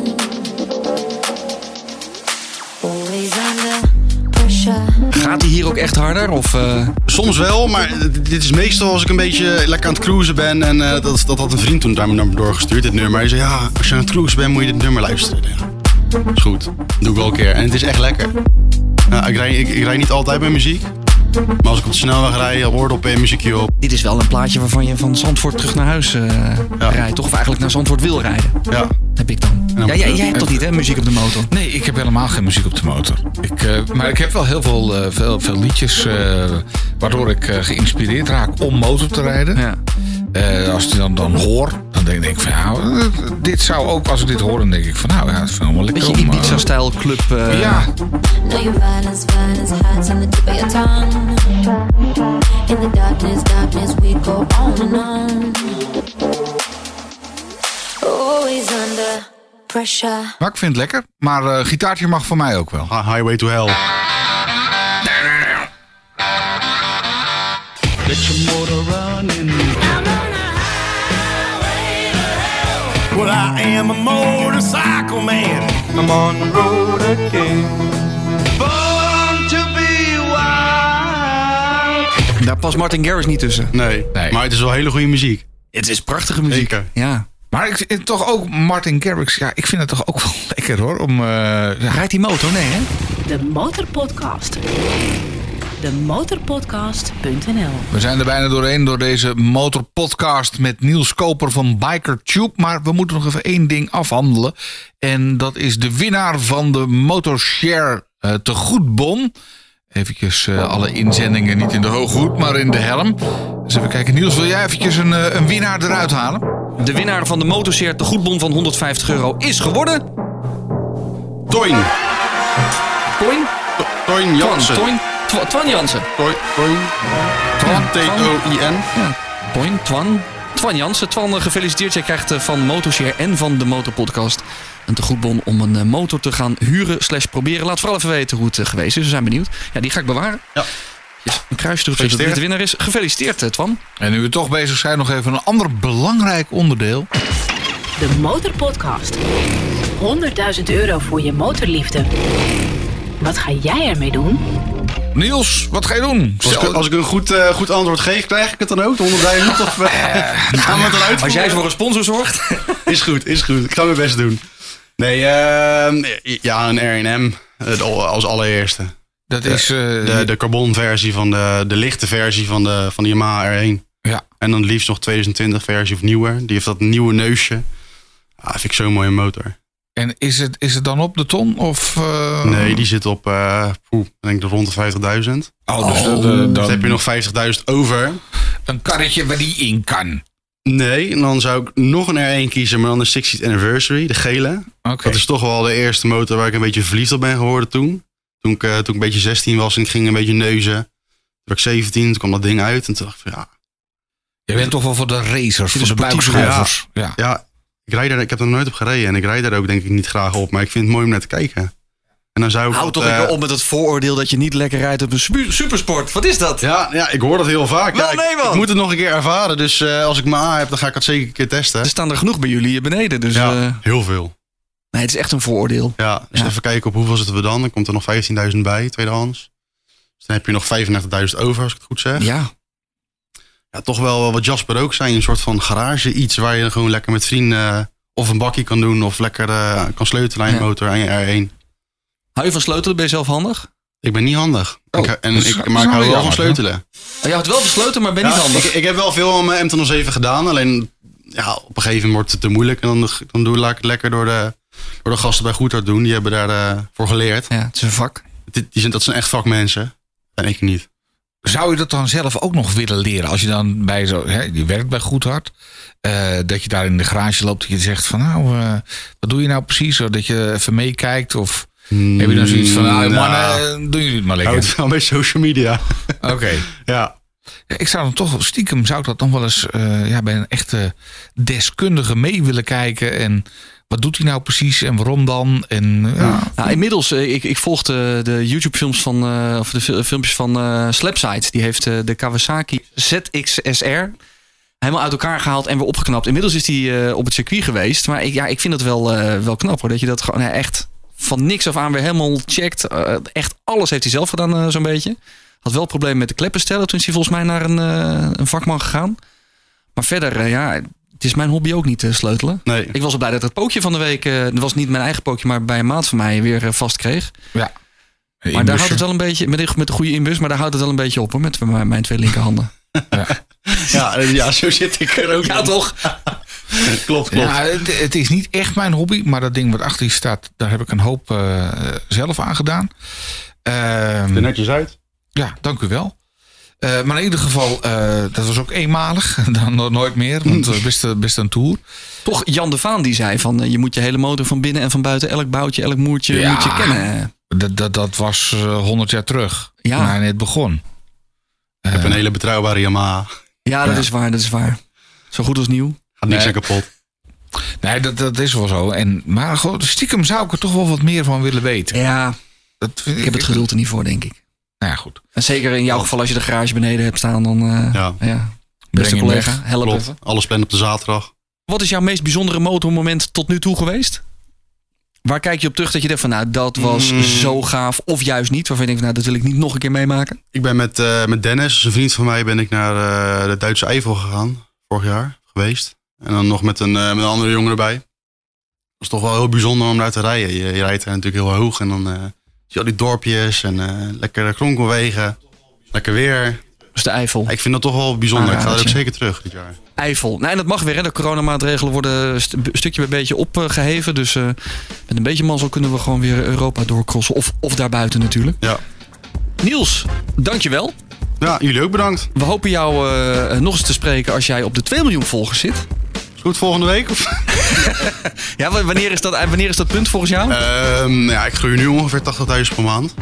[SPEAKER 5] Always under pressure.
[SPEAKER 3] Gaat die hier ook echt harder? Of, eh,
[SPEAKER 4] Soms wel, maar d- dit is meestal als ik een beetje lekker aan het cruisen ben. En eh, dat, dat had een vriend toen daar me naar doorgestuurd, dit nummer. Hij zei, ja, als je aan het cruisen bent, moet je dit nummer luisteren. Ja, is goed. Doe ik wel een keer. En het is echt lekker. Ja, ik, rij, ik, ik rij niet altijd met muziek. Maar als ik op de snelweg rij, hoordop en muziekje op.
[SPEAKER 3] dit is wel een plaatje waarvan je van Zandvoort terug naar huis eh, rijdt. Toch? Of eigenlijk naar Zandvoort wil rijden.
[SPEAKER 4] Ja,
[SPEAKER 3] Heb ik dan.
[SPEAKER 4] dan-
[SPEAKER 3] Ja, jij, jij hebt toch niet hè, muziek op de motor?
[SPEAKER 2] Nee, ik heb helemaal geen muziek op de motor. Ik, eh, maar ik heb wel heel veel, eh, veel, veel liedjes eh, waardoor ik eh, geïnspireerd raak om motor te rijden.
[SPEAKER 3] Ja.
[SPEAKER 2] Eh, als ik die dan, dan hoor, dan denk ik van nou, eh, dit zou ook, als ik dit hoor, dan denk ik van nou ja, het vind ik wel lekker.
[SPEAKER 3] Beetje
[SPEAKER 2] om, eh,
[SPEAKER 3] Ibiza-stijl club. eh,
[SPEAKER 2] Ja,
[SPEAKER 5] Know your violence, violence hides on the tip of your tongue. In the darkness, darkness, we go on and on. Always under pressure.
[SPEAKER 2] maar Nou, ik vind het lekker. Maar eh, gitaartje mag voor mij ook wel.
[SPEAKER 4] Hi- Highway to Hell. Get your motor running.
[SPEAKER 6] Well, I am a motorcycle man.
[SPEAKER 7] I'm on the road again. Born to be wild.
[SPEAKER 3] Daar past Martin Garrix niet tussen.
[SPEAKER 4] Nee,
[SPEAKER 2] Nee.
[SPEAKER 4] maar het is wel hele goede muziek.
[SPEAKER 3] Het is prachtige muziek.
[SPEAKER 4] Zeker.
[SPEAKER 3] Ja.
[SPEAKER 2] Maar ik, eh, toch ook Martin Garrix, ja, ik vind het toch ook wel lekker hoor. Om, eh, ja,
[SPEAKER 3] Rijdt die motor? Nee, hè?
[SPEAKER 1] De Motorpodcast. demotorpodcast.nl.
[SPEAKER 2] We zijn er bijna doorheen door deze motorpodcast met Niels Koper van Biker Tube. Maar we moeten nog even één ding afhandelen. En dat is de winnaar van de Motorshare eh te goedbon. Eventjes eh, alle inzendingen niet in de hooghoed, maar in de helm. Dus even kijken. Niels, wil jij eventjes een, eh, een winnaar eruit halen?
[SPEAKER 3] De winnaar van de motorshare de goedbon van 150 euro is geworden...
[SPEAKER 4] Toin.
[SPEAKER 3] Toin?
[SPEAKER 4] Toin Jansen.
[SPEAKER 3] Toin? Twa- Twan Jansen.
[SPEAKER 4] Toin. Toin. T-O-I-N.
[SPEAKER 3] Toin, Twan. Twan Jansen. Twan, eh, gefeliciteerd. Jij krijgt eh, van Motorshare en van de Motorpodcast een tegoedbon om een eh, motor te gaan huren slash proberen. Laat vooral even weten hoe het eh, geweest is. We zijn benieuwd. Ja, die ga ik bewaren.
[SPEAKER 4] Ja.
[SPEAKER 3] Yes, een kruis erop zodat dit de
[SPEAKER 4] Gefeliciteerd.
[SPEAKER 3] winnaar is. Gefeliciteerd, eh, Twan.
[SPEAKER 2] En nu we toch bezig zijn, nog even een ander belangrijk onderdeel.
[SPEAKER 1] De Motorpodcast. 100.000 euro voor je motorliefde. Wat ga jij ermee doen?
[SPEAKER 2] Niels, wat ga je doen?
[SPEAKER 4] Als ik, als ik een goed, eh, goed antwoord geef, krijg ik het dan ook? De 100.000 of eh, gaan we het eruit
[SPEAKER 3] Als jij
[SPEAKER 4] voeren?
[SPEAKER 3] voor een sponsor zorgt.
[SPEAKER 4] Is goed, is goed. Ik ga mijn best doen. Nee, ehm, ja, een R&M eh, als allereerste.
[SPEAKER 2] Dat is... eh,
[SPEAKER 4] De, de carbon versie van de, de lichte versie van de, van de Yamaha R1.
[SPEAKER 2] Ja.
[SPEAKER 4] En dan liefst nog 2020 versie of nieuwer. Die heeft dat nieuwe neusje. Ah, vind ik zo'n mooie motor.
[SPEAKER 2] En is het, is het dan op de ton? Of, eh,
[SPEAKER 4] Nee, die zit op, eh poeh, ik denk rond de 50.000.
[SPEAKER 2] Oh, dus dat, eh, dat-
[SPEAKER 4] Dan heb je nog 50.000 over.
[SPEAKER 2] een karretje waar die in kan.
[SPEAKER 4] Nee, en dan zou ik nog een R1 kiezen, maar dan de 60th Anniversary, de gele.
[SPEAKER 2] Oké.
[SPEAKER 4] Dat is toch wel de eerste motor waar ik een beetje verliefd op ben geworden toen. Toen ik, eh, toen ik een beetje 16 was en ik ging een beetje neuzen. Toen werd ik 17, toen kwam dat ding uit en toen dacht ik van ja,
[SPEAKER 2] Je bent toch wel voor de racers, voor de
[SPEAKER 4] sportieve,
[SPEAKER 2] buikschuivers. Ja.
[SPEAKER 4] ja ik, rijd daar, ik heb er nooit op gereden en ik rijd daar ook denk ik niet graag op. Maar ik vind het mooi om naar te kijken. En dan zou ik...
[SPEAKER 3] Houd
[SPEAKER 4] dat,
[SPEAKER 3] toch even
[SPEAKER 4] eh,
[SPEAKER 3] op met het vooroordeel dat je niet lekker rijdt op een spu- supersport. Wat is dat?
[SPEAKER 4] Ja, ja, ik hoor dat heel vaak.
[SPEAKER 3] Wel,
[SPEAKER 4] Ja, ik-
[SPEAKER 3] nee,
[SPEAKER 4] ik,
[SPEAKER 3] man.
[SPEAKER 4] moet het nog een keer ervaren. Dus eh, als ik mijn A heb, dan ga ik het zeker een keer testen.
[SPEAKER 3] Er staan er genoeg bij jullie hier beneden. Dus
[SPEAKER 4] ja,
[SPEAKER 3] eh,
[SPEAKER 4] heel veel.
[SPEAKER 3] nee, het is echt een vooroordeel.
[SPEAKER 4] Ja, dus
[SPEAKER 3] Ja.
[SPEAKER 4] even kijken op hoeveel zitten we dan. Dan komt er nog 15.000 bij, tweedehands. Dus dan heb je nog 35.000 over, als ik het goed zeg.
[SPEAKER 3] Ja.
[SPEAKER 4] ja, toch wel wat Jasper ook zijn. Een soort van garage iets waar je gewoon lekker met vrienden eh, of een bakkie kan doen. Of lekker eh, kan sleutelen aan je
[SPEAKER 3] Ja.
[SPEAKER 4] motor aan je R1.
[SPEAKER 3] Hou je van sleutelen? Ben je zelf handig?
[SPEAKER 4] Ik ben niet handig.
[SPEAKER 3] Oh,
[SPEAKER 4] ik, ha- en
[SPEAKER 2] dat is-
[SPEAKER 4] ik,
[SPEAKER 2] dat
[SPEAKER 4] maar
[SPEAKER 2] is
[SPEAKER 4] ik
[SPEAKER 2] wel
[SPEAKER 4] hou wel van
[SPEAKER 2] jammer, hè?
[SPEAKER 4] sleutelen.
[SPEAKER 3] Oh, je houdt wel van sleutelen, maar ben niet
[SPEAKER 4] Ja,
[SPEAKER 3] handig.
[SPEAKER 4] Ik, ik heb wel veel aan mijn M207 gedaan. Alleen ja, op een gegeven moment wordt het te moeilijk. En dan, dan doe, laat ik het lekker door de, door de gasten bij Goedhart doen. Die hebben daarvoor voor geleerd.
[SPEAKER 3] Ja, het is een vak.
[SPEAKER 4] Dit- Die zijn, dat zijn echt vakmensen. En ik niet.
[SPEAKER 2] Zou je dat dan zelf ook nog willen leren? Als je dan bij zo, hè, je werkt bij Goedhart, eh, dat je daar in de garage loopt, dat je zegt van nou, eh, wat doe je nou precies? Of dat je even meekijkt of
[SPEAKER 4] Mm,
[SPEAKER 2] heb je dan zoiets van, nou, man, doe je het maar
[SPEAKER 4] Houdt
[SPEAKER 2] lekker.
[SPEAKER 4] wel met social media.
[SPEAKER 2] Oké.
[SPEAKER 4] ja.
[SPEAKER 2] Ja, Ik zou dan toch stiekem zou ik dat dan wel eens eh, ja, bij een echte deskundige mee willen kijken. En wat doet hij nou precies en waarom dan? En eh, ja,
[SPEAKER 3] Nou, inmiddels, eh, ik, ik volgde de YouTube-films van, eh, of de fil- filmpjes van eh Slapside. Die heeft eh, de Kawasaki ZXSR helemaal uit elkaar gehaald en weer opgeknapt. Inmiddels is die eh, op het circuit geweest. Maar ik, ja, ik vind dat wel, eh, wel knap hoor. Dat je dat gewoon eh, echt van niks af aan weer helemaal checkt. Eh, echt alles heeft hij zelf gedaan, eh, zo'n beetje. Had wel problemen met de kleppenstellen. Toen is hij volgens mij naar een, eh, een vakman gegaan. Maar verder, eh, ja, het is mijn hobby ook niet te sleutelen.
[SPEAKER 4] Nee.
[SPEAKER 3] Ik was wel blij dat ik het pookje van de week, eh, dat was niet mijn eigen pookje, maar bij een maat van mij weer eh, vast kreeg.
[SPEAKER 2] ja.
[SPEAKER 3] Maar daar houdt het wel een beetje, met de, met de goede inbus, maar daar houdt het wel een beetje op hoor, met mijn, mijn twee linkerhanden.
[SPEAKER 4] Ja, eh, ja, zo zit ik er ook. in.
[SPEAKER 3] toch?
[SPEAKER 4] klopt, klopt.
[SPEAKER 2] Ja, het, het is niet echt mijn hobby, maar dat ding wat achter je staat, daar heb ik een hoop eh, zelf aan gedaan. Ehm,
[SPEAKER 4] netjes uit.
[SPEAKER 2] ja, dank u wel. Eh, maar in ieder geval, eh, dat was ook eenmalig. Dan no- nooit meer, want het was best, eh, best een tour.
[SPEAKER 3] Toch Jan de Vaan die zei van, eh, je moet je hele motor van binnen en van buiten, elk boutje, elk moertje,
[SPEAKER 2] Ja.
[SPEAKER 3] moet je kennen.
[SPEAKER 2] Dat, dat, dat was eh, 100 jaar terug,
[SPEAKER 3] Ja.
[SPEAKER 2] toen hij net begon.
[SPEAKER 4] Ik heb een hele betrouwbare Yamaha. Gaat
[SPEAKER 3] Ja, dat is waar, dat is waar. Zo goed als nieuw.
[SPEAKER 4] niks
[SPEAKER 2] Nee.
[SPEAKER 4] aan kapot.
[SPEAKER 2] Nee, dat, dat is wel zo. En, maar goed, stiekem zou ik er toch wel wat meer van willen weten.
[SPEAKER 3] Ja,
[SPEAKER 2] Dat vind
[SPEAKER 3] ik heb het geduld er niet voor, denk ik.
[SPEAKER 2] Nou ja, goed.
[SPEAKER 3] En zeker in jouw geval, als je de garage beneden hebt staan, dan, eh,
[SPEAKER 4] Ja.
[SPEAKER 3] ja.
[SPEAKER 2] Breng
[SPEAKER 3] beste
[SPEAKER 2] hem
[SPEAKER 3] collega,
[SPEAKER 2] weg.
[SPEAKER 3] help
[SPEAKER 4] Klopt.
[SPEAKER 3] even.
[SPEAKER 4] Alles plannen op de zaterdag.
[SPEAKER 3] Wat is jouw meest bijzondere motormoment tot nu toe geweest? Waar kijk je op terug dat je denkt van nou dat was zo gaaf of juist niet? Waarvan je denkt van nou dat wil ik niet nog een keer meemaken.
[SPEAKER 4] Ik ben met, eh, met Dennis, een vriend van mij, ben ik naar eh, de Duitse Eifel gegaan. Vorig jaar geweest. En dan nog met een, eh, met een andere jongen erbij. Dat is toch wel heel bijzonder om daar te rijden. Je, je rijdt daar natuurlijk heel hoog en dan eh, zie je al die dorpjes en eh lekkere kronkelwegen. Lekker weer.
[SPEAKER 3] Dus de Eifel.
[SPEAKER 4] Ik vind dat toch wel bijzonder. Ik ga er ook
[SPEAKER 3] Aanradertje.
[SPEAKER 4] zeker terug dit jaar.
[SPEAKER 3] Eifel. Nee, dat mag weer. Hè. De coronamaatregelen worden st- stukje bij beetje opgeheven. Dus eh, met een beetje mazzel kunnen we gewoon weer Europa doorcrossen. Of, of daarbuiten natuurlijk.
[SPEAKER 4] Ja.
[SPEAKER 3] Niels, dankjewel.
[SPEAKER 4] ja, jullie ook bedankt.
[SPEAKER 3] We hopen jou eh, nog eens te spreken als jij op de 2 miljoen volgers zit.
[SPEAKER 4] Is goed volgende week? Of?
[SPEAKER 3] Ja, wa- wanneer is dat, eh, wanneer is dat punt volgens jou?
[SPEAKER 4] Ehm, ja, ik groei nu ongeveer 80.000 per maand.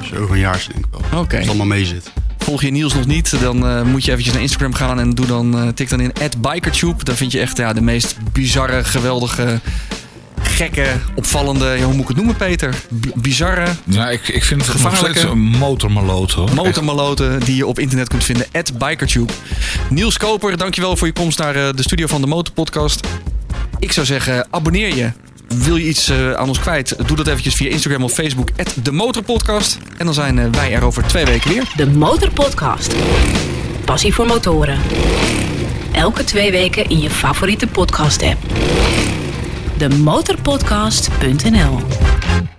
[SPEAKER 4] Dus over een jaar is het denk ik wel. Als
[SPEAKER 3] Oké.
[SPEAKER 4] het allemaal mee zit.
[SPEAKER 3] Volg je Niels nog niet, dan eh, moet je eventjes naar Instagram gaan en doe dan, eh, tik dan in @bikertube. Daar vind je echt ja, de meest bizarre, geweldige, gekke, opvallende, ja, hoe moet ik het noemen Peter? B- bizarre
[SPEAKER 2] Ja, Nou, ik, ik vind het nog
[SPEAKER 3] Gevaarlijke-
[SPEAKER 2] steeds een motormaloot hoor.
[SPEAKER 3] motormaloten die je op internet kunt vinden @bikertube. Niels Koper, dankjewel voor je komst naar eh, de studio van de Motorpodcast. Ik zou zeggen, abonneer je. Wil je iets eh, aan ons kwijt? Doe dat eventjes via Instagram of Facebook de Motorpodcast. En dan zijn eh, wij er over twee weken weer.
[SPEAKER 1] De Motorpodcast. Passie voor motoren. Elke twee weken in je favoriete podcast-app. Demotorpodcast.nl